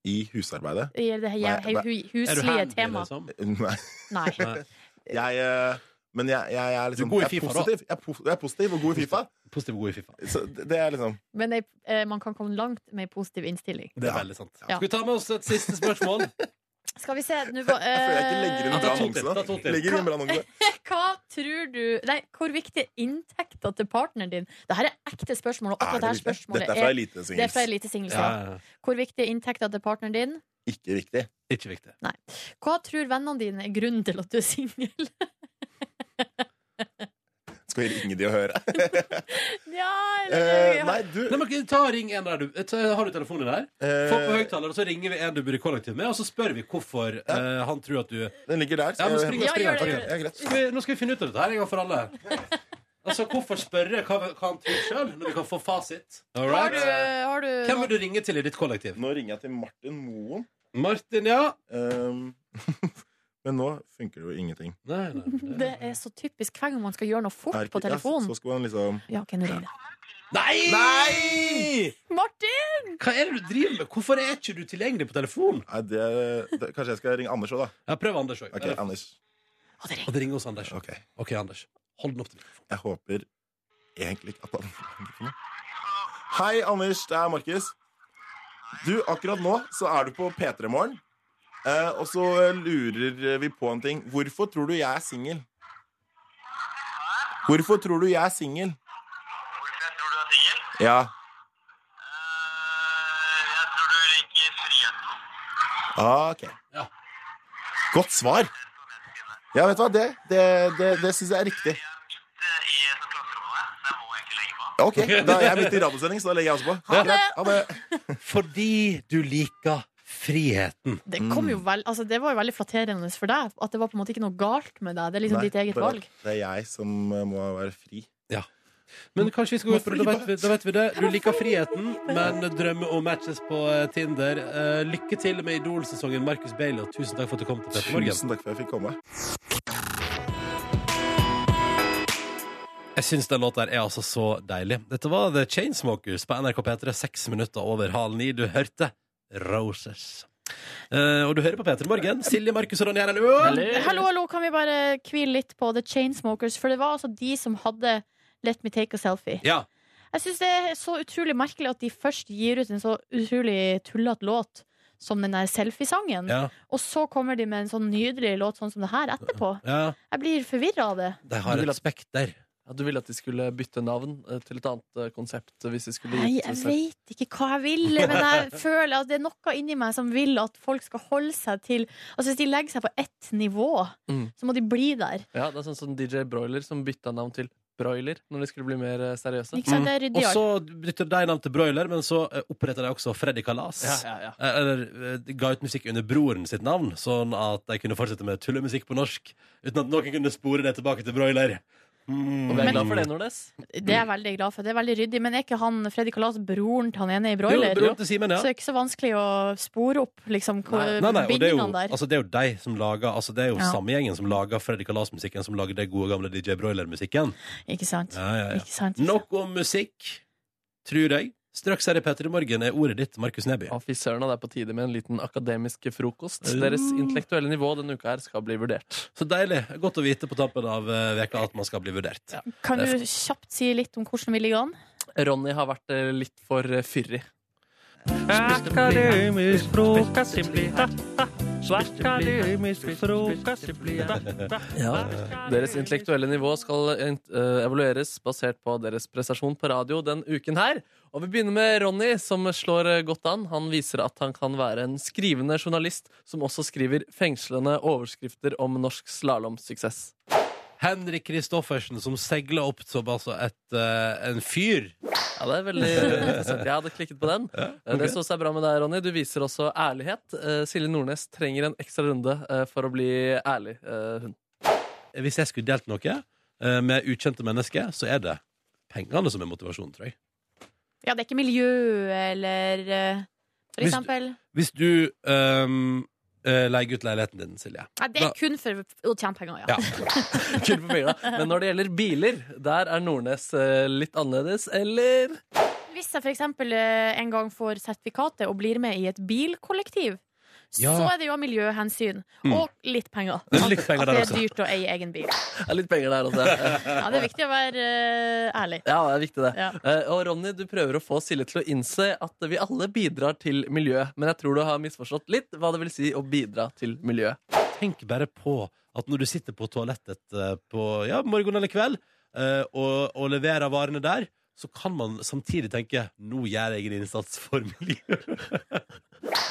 Speaker 11: I
Speaker 5: <laughs>
Speaker 11: husarbeidet.
Speaker 5: I det her,
Speaker 11: Nei,
Speaker 4: Er
Speaker 5: hu,
Speaker 11: hva-
Speaker 4: du
Speaker 5: huslige
Speaker 4: handy,
Speaker 5: temaet.
Speaker 4: liksom?
Speaker 11: Nei.
Speaker 5: Nei.
Speaker 4: Nei.
Speaker 11: Jeg, eh, men jeg, jeg, er liksom
Speaker 4: Du er god i
Speaker 11: jeg
Speaker 4: FIFA, da.
Speaker 11: positiv. Jeg er, pos- jeg er positiv og god i Fifa.
Speaker 4: Positiv god i Fifa.
Speaker 11: Så det, det er liksom
Speaker 5: Men jeg, eh, man kan komme langt med en positiv innstilling.
Speaker 4: Det er
Speaker 11: Ja.
Speaker 4: veldig sant.
Speaker 5: Ja.
Speaker 11: <laughs>
Speaker 4: Skal vi ta med oss et siste spørsmål?
Speaker 5: Skal vi se nå var-
Speaker 11: Jeg føler jeg ikke legger inn
Speaker 5: eh,
Speaker 11: bra annonse
Speaker 4: Ta to
Speaker 11: nå.
Speaker 4: til.
Speaker 11: Legger inn bra annonse.
Speaker 5: Hva tror du Nei, hvor viktig er inntekta til partneren din? Dette er ekte spørsmål. Og akkurat
Speaker 11: Er det
Speaker 5: dette
Speaker 11: viktig?
Speaker 5: spørsmålet Eh,
Speaker 11: Dette er fra Elite Singles.
Speaker 5: Det er fra Elite Singles,
Speaker 11: Ja,
Speaker 5: ja.
Speaker 11: ja, ja.
Speaker 5: Hvor viktig er inntekta til partneren din?
Speaker 11: Ikke viktig.
Speaker 4: Ikke viktig.
Speaker 5: Nei. Hva tror vennene dine er grunnen til at du er singel? <laughs>
Speaker 11: Skal vi ringe de og
Speaker 5: <laughs>
Speaker 11: høre?
Speaker 5: ja,
Speaker 11: Eh, nei, du eh,
Speaker 4: Nei, men ta og ring en der du ta- Har du telefonen der? Få på høyttaler, og så ringer vi en du bor i kollektiv med, og så spør vi hvorfor eh, han tror at du
Speaker 11: Den ligger der.
Speaker 4: Ja, men spring,
Speaker 5: Ja,
Speaker 4: spring,
Speaker 5: gjør det,
Speaker 4: spring.
Speaker 5: gjør det.
Speaker 11: Ja, greit.
Speaker 4: Skal vi, nå skal vi finne ut av dette her en gang for alle. Altså, Hvorfor spørre hva, hva han tror sjøl, når vi kan få fasit? All
Speaker 5: Har
Speaker 4: right.
Speaker 5: du, eh, har du
Speaker 4: Hvem vil du ringe til i ditt kollektiv?
Speaker 11: Nå ringer jeg til Martin Moen.
Speaker 4: Martin, ja?
Speaker 11: Ehm, <laughs> men nå funker det jo ingenting.
Speaker 4: Nei, nei.
Speaker 5: Det er så typisk hver gang man skal gjøre noe fort
Speaker 11: Er ikke-
Speaker 5: på telefonen.
Speaker 11: Ja, så skulle han liksom
Speaker 5: Ja, ok, nå ringer det.
Speaker 4: nei!
Speaker 5: Martin!
Speaker 4: Hva er det du driver med? Hvorfor er ikke du tilgjengelig på telefon?
Speaker 11: Nei, det, det, Kanskje jeg skal ringe Anders òg, da.
Speaker 4: Ja, Prøv Anders òg.
Speaker 11: Ok, Anders.
Speaker 5: Å, det ringer.
Speaker 4: Og det ringer hos Anders.
Speaker 11: Ok.
Speaker 4: OK, Anders. Hold den opp til mikrofonen.
Speaker 11: Jeg håper egentlig ikke at han ringer på nå. Hei, Anders. Det er Markus. Du, akkurat nå så er du på P3 Morgen. Eh, og så eh, lurer vi på en ting. Hvorfor tror du jeg er singel? Hvorfor tror du jeg er singel?
Speaker 9: Hvorfor jeg tror du er singel? Eh,
Speaker 11: Ja.
Speaker 9: Jeg tror du liker friheten.
Speaker 11: Ah, ok. Godt svar. Ja, vet du hva? Det, det, det, det syns jeg er riktig.
Speaker 9: eh, I klasserommet, så jeg må egentlig legge på.
Speaker 11: Ok, da er jeg midt i radiosending, så da legger jeg også på. Greit, Ha det.
Speaker 4: Fordi du liker friheten.
Speaker 5: Det, kom
Speaker 4: Mm.
Speaker 5: jo vel, altså, det var jo veldig flatterende for deg. At det var på en måte ikke noe galt med deg. Det er liksom
Speaker 11: Nei,
Speaker 5: ditt eget
Speaker 11: det,
Speaker 5: valg.
Speaker 11: Det er jeg som eh, må være fri.
Speaker 4: Men kanskje vi skal gå ut for det. Da vet vi, da vet vi det. Du liker friheten, men drømmer om matches på eh, Tinder. Eh, lykke til med Idol-sesongen, Markus Bailey, og tusen takk for at du kom til Petter Morgen.
Speaker 11: Tusen takk for at jeg fikk komme.
Speaker 4: Jeg syns den låta her er altså så deilig. Dette var The Chainsmokers på NRK P3, seks minutter over halv ni. Du hørte Roses. Eh, og du hører på P3 Morgen. Silje, Markus og Ronny her. Hallo!
Speaker 5: Hallo, hallo, kan vi bare hvile litt på The Chainsmokers? For det var altså de som hadde Let me take a selfie.
Speaker 4: Ja.
Speaker 5: Jeg syns det er så utrolig merkelig at de først gir ut en så utrolig tullete låt som den der selfiesangen,
Speaker 4: ja,
Speaker 5: og så kommer de med en sånn nydelig låt sånn som det her etterpå.
Speaker 4: ja.
Speaker 5: Jeg blir forvirra av det.
Speaker 4: De har
Speaker 3: Du vil
Speaker 4: et
Speaker 3: at-
Speaker 4: spekter.
Speaker 3: Ja, du ville at de skulle bytte navn eh, til et annet eh, konsept? eh, Hvis de skulle
Speaker 5: Nei,
Speaker 3: gitt
Speaker 5: jeg
Speaker 3: seg-
Speaker 5: vet ikke hva jeg vil, men
Speaker 4: <laughs>
Speaker 5: jeg føler at det er noe inni meg som vil at folk skal holde seg til Altså Hvis de legger seg på ett nivå,
Speaker 3: Mm.
Speaker 5: så må de bli der.
Speaker 3: Ja, det er sånn som DJ Broiler som bytta navn til Broiler når de skulle bli mer eh, seriøse.
Speaker 5: Ikke sant? Det
Speaker 4: Mm. Og
Speaker 5: er ryddigere.
Speaker 4: så bytter de navn til Broiler, men så eh, oppretter de også Freddy Kalas.
Speaker 3: Ja, ja, ja.
Speaker 4: Eh, Eller eh, de ga ut musikk under broren sitt navn, sånn at de kunne fortsette med tullemusikk på norsk uten at noen kunne spore det tilbake til Broiler. Mm.
Speaker 3: Og vi er glad for det, Nordnes.
Speaker 5: Det er jeg veldig glad for. Det er veldig ryddig. Men er ikke han Freddy Kalas broren til han ene i
Speaker 4: Jo,
Speaker 5: Broiler?
Speaker 4: broren til Simen, ja.
Speaker 5: Så det er ikke så vanskelig å spore opp liksom, hvor-
Speaker 4: Nei, nei, og det er, jo,
Speaker 5: bindingene der.
Speaker 4: altså, det er jo de som lager Altså det er jo
Speaker 5: Ja.
Speaker 4: samme gjengen som lager Freddy Kalas-musikken, som lager det gode gamle DJ Broiler-musikken.
Speaker 5: Ikke sant?
Speaker 4: Ja, ja, ja.
Speaker 5: Ikke sant?
Speaker 4: Nok om musikk, tror jeg. Straks her i Petter i morgen er ordet ditt, Markus Neby.
Speaker 3: Å, fy søren, og det er på tide med en liten akademisk frokost. Deres intellektuelle nivå denne uka her skal bli vurdert.
Speaker 4: Så deilig. Godt å vite på tappen av eh, veka at man skal bli vurdert.
Speaker 5: Kan du kjapt si litt om hvordan vi ligger an?
Speaker 3: Ronny har vært eh, litt for eh, fyrig.
Speaker 8: Akademisk frokost, det blir ha-ha. Akademisk frokost, det blir ha-ha.
Speaker 3: Deres intellektuelle nivå skal eh, int- eh, evalueres basert på deres prestasjon på radio den uken her. Og vi begynner med Ronny, som slår eh, godt an. Han viser at han kan være en skrivende journalist som også skriver fengslende overskrifter om norsk slalåmsuksess.
Speaker 4: Henrik Kristoffersen som seiler opp som altså et, eh, en fyr.
Speaker 3: Ja, det er veldig interessant. Jeg hadde klikket på den. Eh, Det som også er bra med deg, Ronny, du viser også ærlighet. Eh, Silje Nordnes trenger en ekstra runde eh, for å bli ærlig, eh, hun. <laughs>
Speaker 4: Hvis jeg skulle delt noe eh, med ukjente mennesker, så er det pengene som er motivasjonen, tror jeg.
Speaker 5: Ja, det er ikke miljø eller eh,
Speaker 4: Hvis
Speaker 5: For
Speaker 4: du-
Speaker 5: eksempel.
Speaker 4: Hvis du ehm, eh, leier ut leiligheten din, Silje
Speaker 5: Nei, det
Speaker 4: Da-
Speaker 5: er kun for å tjene penger,
Speaker 4: Ja.
Speaker 5: ja.
Speaker 3: Kun for penger, da. Men når det gjelder biler, der er Nordnes eh, litt annerledes, eller?
Speaker 5: Hvis jeg for eksempel eh, en gang får sertifikatet og blir med i et bilkollektiv, Så
Speaker 3: Ja.
Speaker 5: er det jo miljøhensyn.
Speaker 3: Mm.
Speaker 5: Og litt penger. At,
Speaker 3: Litt penger
Speaker 5: at
Speaker 3: der
Speaker 5: det er
Speaker 3: også.
Speaker 5: dyrt å eie egen bil.
Speaker 3: Det er litt penger der også.
Speaker 5: Ja, det er viktig å være eh, ærlig.
Speaker 3: Ja, det er viktig det.
Speaker 5: Ja.
Speaker 3: Eh, og Ronny, du prøver å få Silje til å innse at vi alle bidrar til miljøet, men jeg tror du har misforstått litt hva det vil si å bidra til miljøet.
Speaker 4: Tenk bare på at når du sitter på toalettet eh, på ja, morgen eller kveld eh, og, og leverer varene der, så kan man samtidig tenke nå gjør jeg en innsats for miljøet.
Speaker 3: <laughs>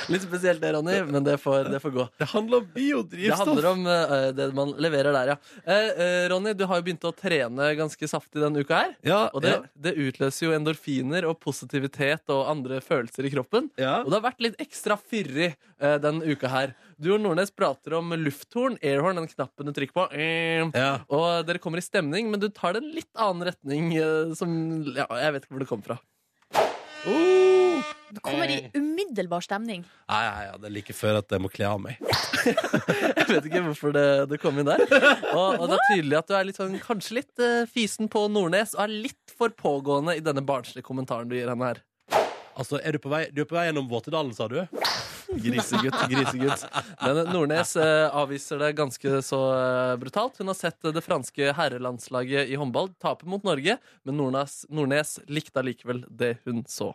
Speaker 3: Litt spesielt det, Ronny, men det får, det får gå.
Speaker 4: Det handler om biodrivstoff.
Speaker 3: Det handler om eh, det man leverer der, ja. Eh, eh, Ronny, du har jo begynt å trene ganske saftig denne uka her. og det,
Speaker 4: ja.
Speaker 3: det utløser jo endorfiner og positivitet og andre følelser i kroppen. Og det har vært litt ekstra fyrig eh, denne uka her. Du og Nordnes prater om lufthorn, airhorn, den knappen du trykker på. eh, Og dere kommer i stemning, men du tar det en litt annen retning eh, som ja, Jeg vet ikke hvor det kommer fra.
Speaker 5: Du kommer
Speaker 3: Eh.
Speaker 5: i umiddelbar stemning.
Speaker 4: Nei, nei, ja, det er like før at jeg må kle av meg.
Speaker 3: Jeg vet ikke hvorfor det, det kom inn der. Og, og det er tydelig at du er litt sånn, kanskje litt eh, fysen på Nordnes og er litt for pågående i denne barnslige kommentaren du gir henne her.
Speaker 4: Altså, er du på vei, du er på vei gjennom Våtedalen, sa du?
Speaker 3: Grisegutt, grisegutt. Men Nordnes eh, avviser det ganske så eh, brutalt. Hun har sett eh, det franske herrelandslaget i håndball tape mot Norge, men Nordnes, Nordnes likte allikevel det hun så.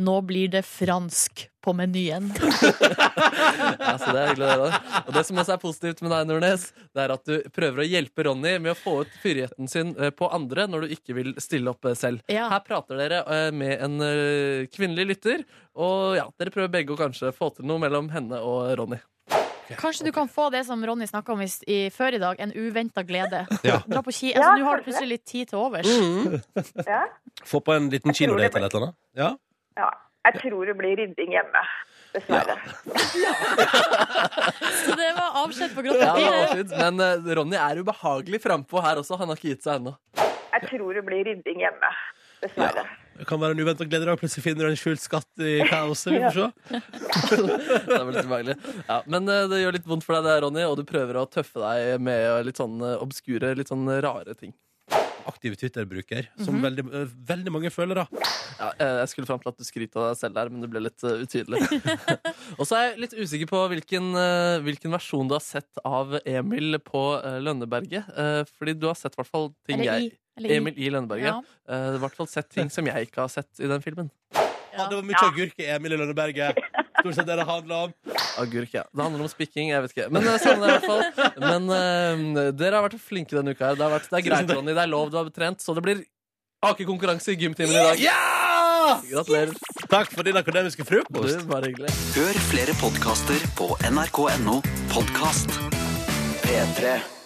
Speaker 5: Nå blir det fransk på
Speaker 3: <laughs>
Speaker 5: menyen.
Speaker 3: Ja, så det er hyggelig å høre. Og det som også er positivt med deg, Nordnes, det er at du prøver å hjelpe Ronny med å få ut fyrigheten sin eh, på andre når du ikke vil stille opp eh, selv. Her prater dere eh, med en eh, kvinnelig lytter, og ja, dere prøver begge å kanskje få til noe mellom henne og Ronny.
Speaker 5: Kanskje du kan få det som Ronny snakka om i, i, før i dag, en uventa glede.
Speaker 4: Ja.
Speaker 5: Dra på ski.
Speaker 12: Ja,
Speaker 5: Altså, Nå har du
Speaker 12: kanskje
Speaker 5: plutselig litt tid til overs.
Speaker 12: Ja.
Speaker 4: Få på en liten kinodate eller et eller annet. Ja.
Speaker 12: ja. Jeg tror det blir rydding hjemme. Dessverre.
Speaker 5: Så det var avskjed på grått
Speaker 3: Ja, det
Speaker 5: papir.
Speaker 3: er avskjed, men eh, Ronny er ubehagelig frampå her også. Han har ikke gitt seg ennå.
Speaker 12: Jeg tror det blir rydding hjemme. Dessverre.
Speaker 4: Det kan være en uventa glede deg, og plutselig finner du en skjult skatt <laughs> i kaoset. Vi får se.
Speaker 3: Det er vel litt ubehagelig. Ja, men eh, det gjør litt vondt for deg, det, Ronny, og du prøver å tøffe deg med eh, litt sånn eh, obskure, litt sånn rare ting.
Speaker 4: Aktiv Twitter-bruker, som veldig, eh, veldig mange føler, da.
Speaker 3: Ja, eh, jeg skulle fram til at du skryter av deg selv der, men det ble litt eh, utydelig. <laughs> og så er jeg litt usikker på hvilken, eh, hvilken versjon du har sett av Emil på eh, Lønneberget. eh, Fordi du har sett i hvert fall ting
Speaker 4: Eller i,
Speaker 3: jeg
Speaker 4: eller i.
Speaker 3: Emil i Lønneberget.
Speaker 4: Ja.
Speaker 3: Ja. Eh, I hvert fall sett ting som jeg ikke har sett i den filmen.
Speaker 4: Ja. det var mye agurk i Emil i <laughs> Lønneberget. Stort sett det det handler om.
Speaker 3: Agurk, ja. Det handler om spikking, jeg vet ikke. Men eh, sånn er det i hvert fall. Men eh, dere har vært flinke denne uka her. Det, har vært, det er greit, Ronny. Det er lov du har betrent. Så det blir akekonkurranse i gymtimen i dag. Gratulerer.
Speaker 4: Ah! Takk for din akademiske frokost.
Speaker 3: Du, bare hyggelig.
Speaker 13: Hør flere podkaster på nrk.no podkast. P3.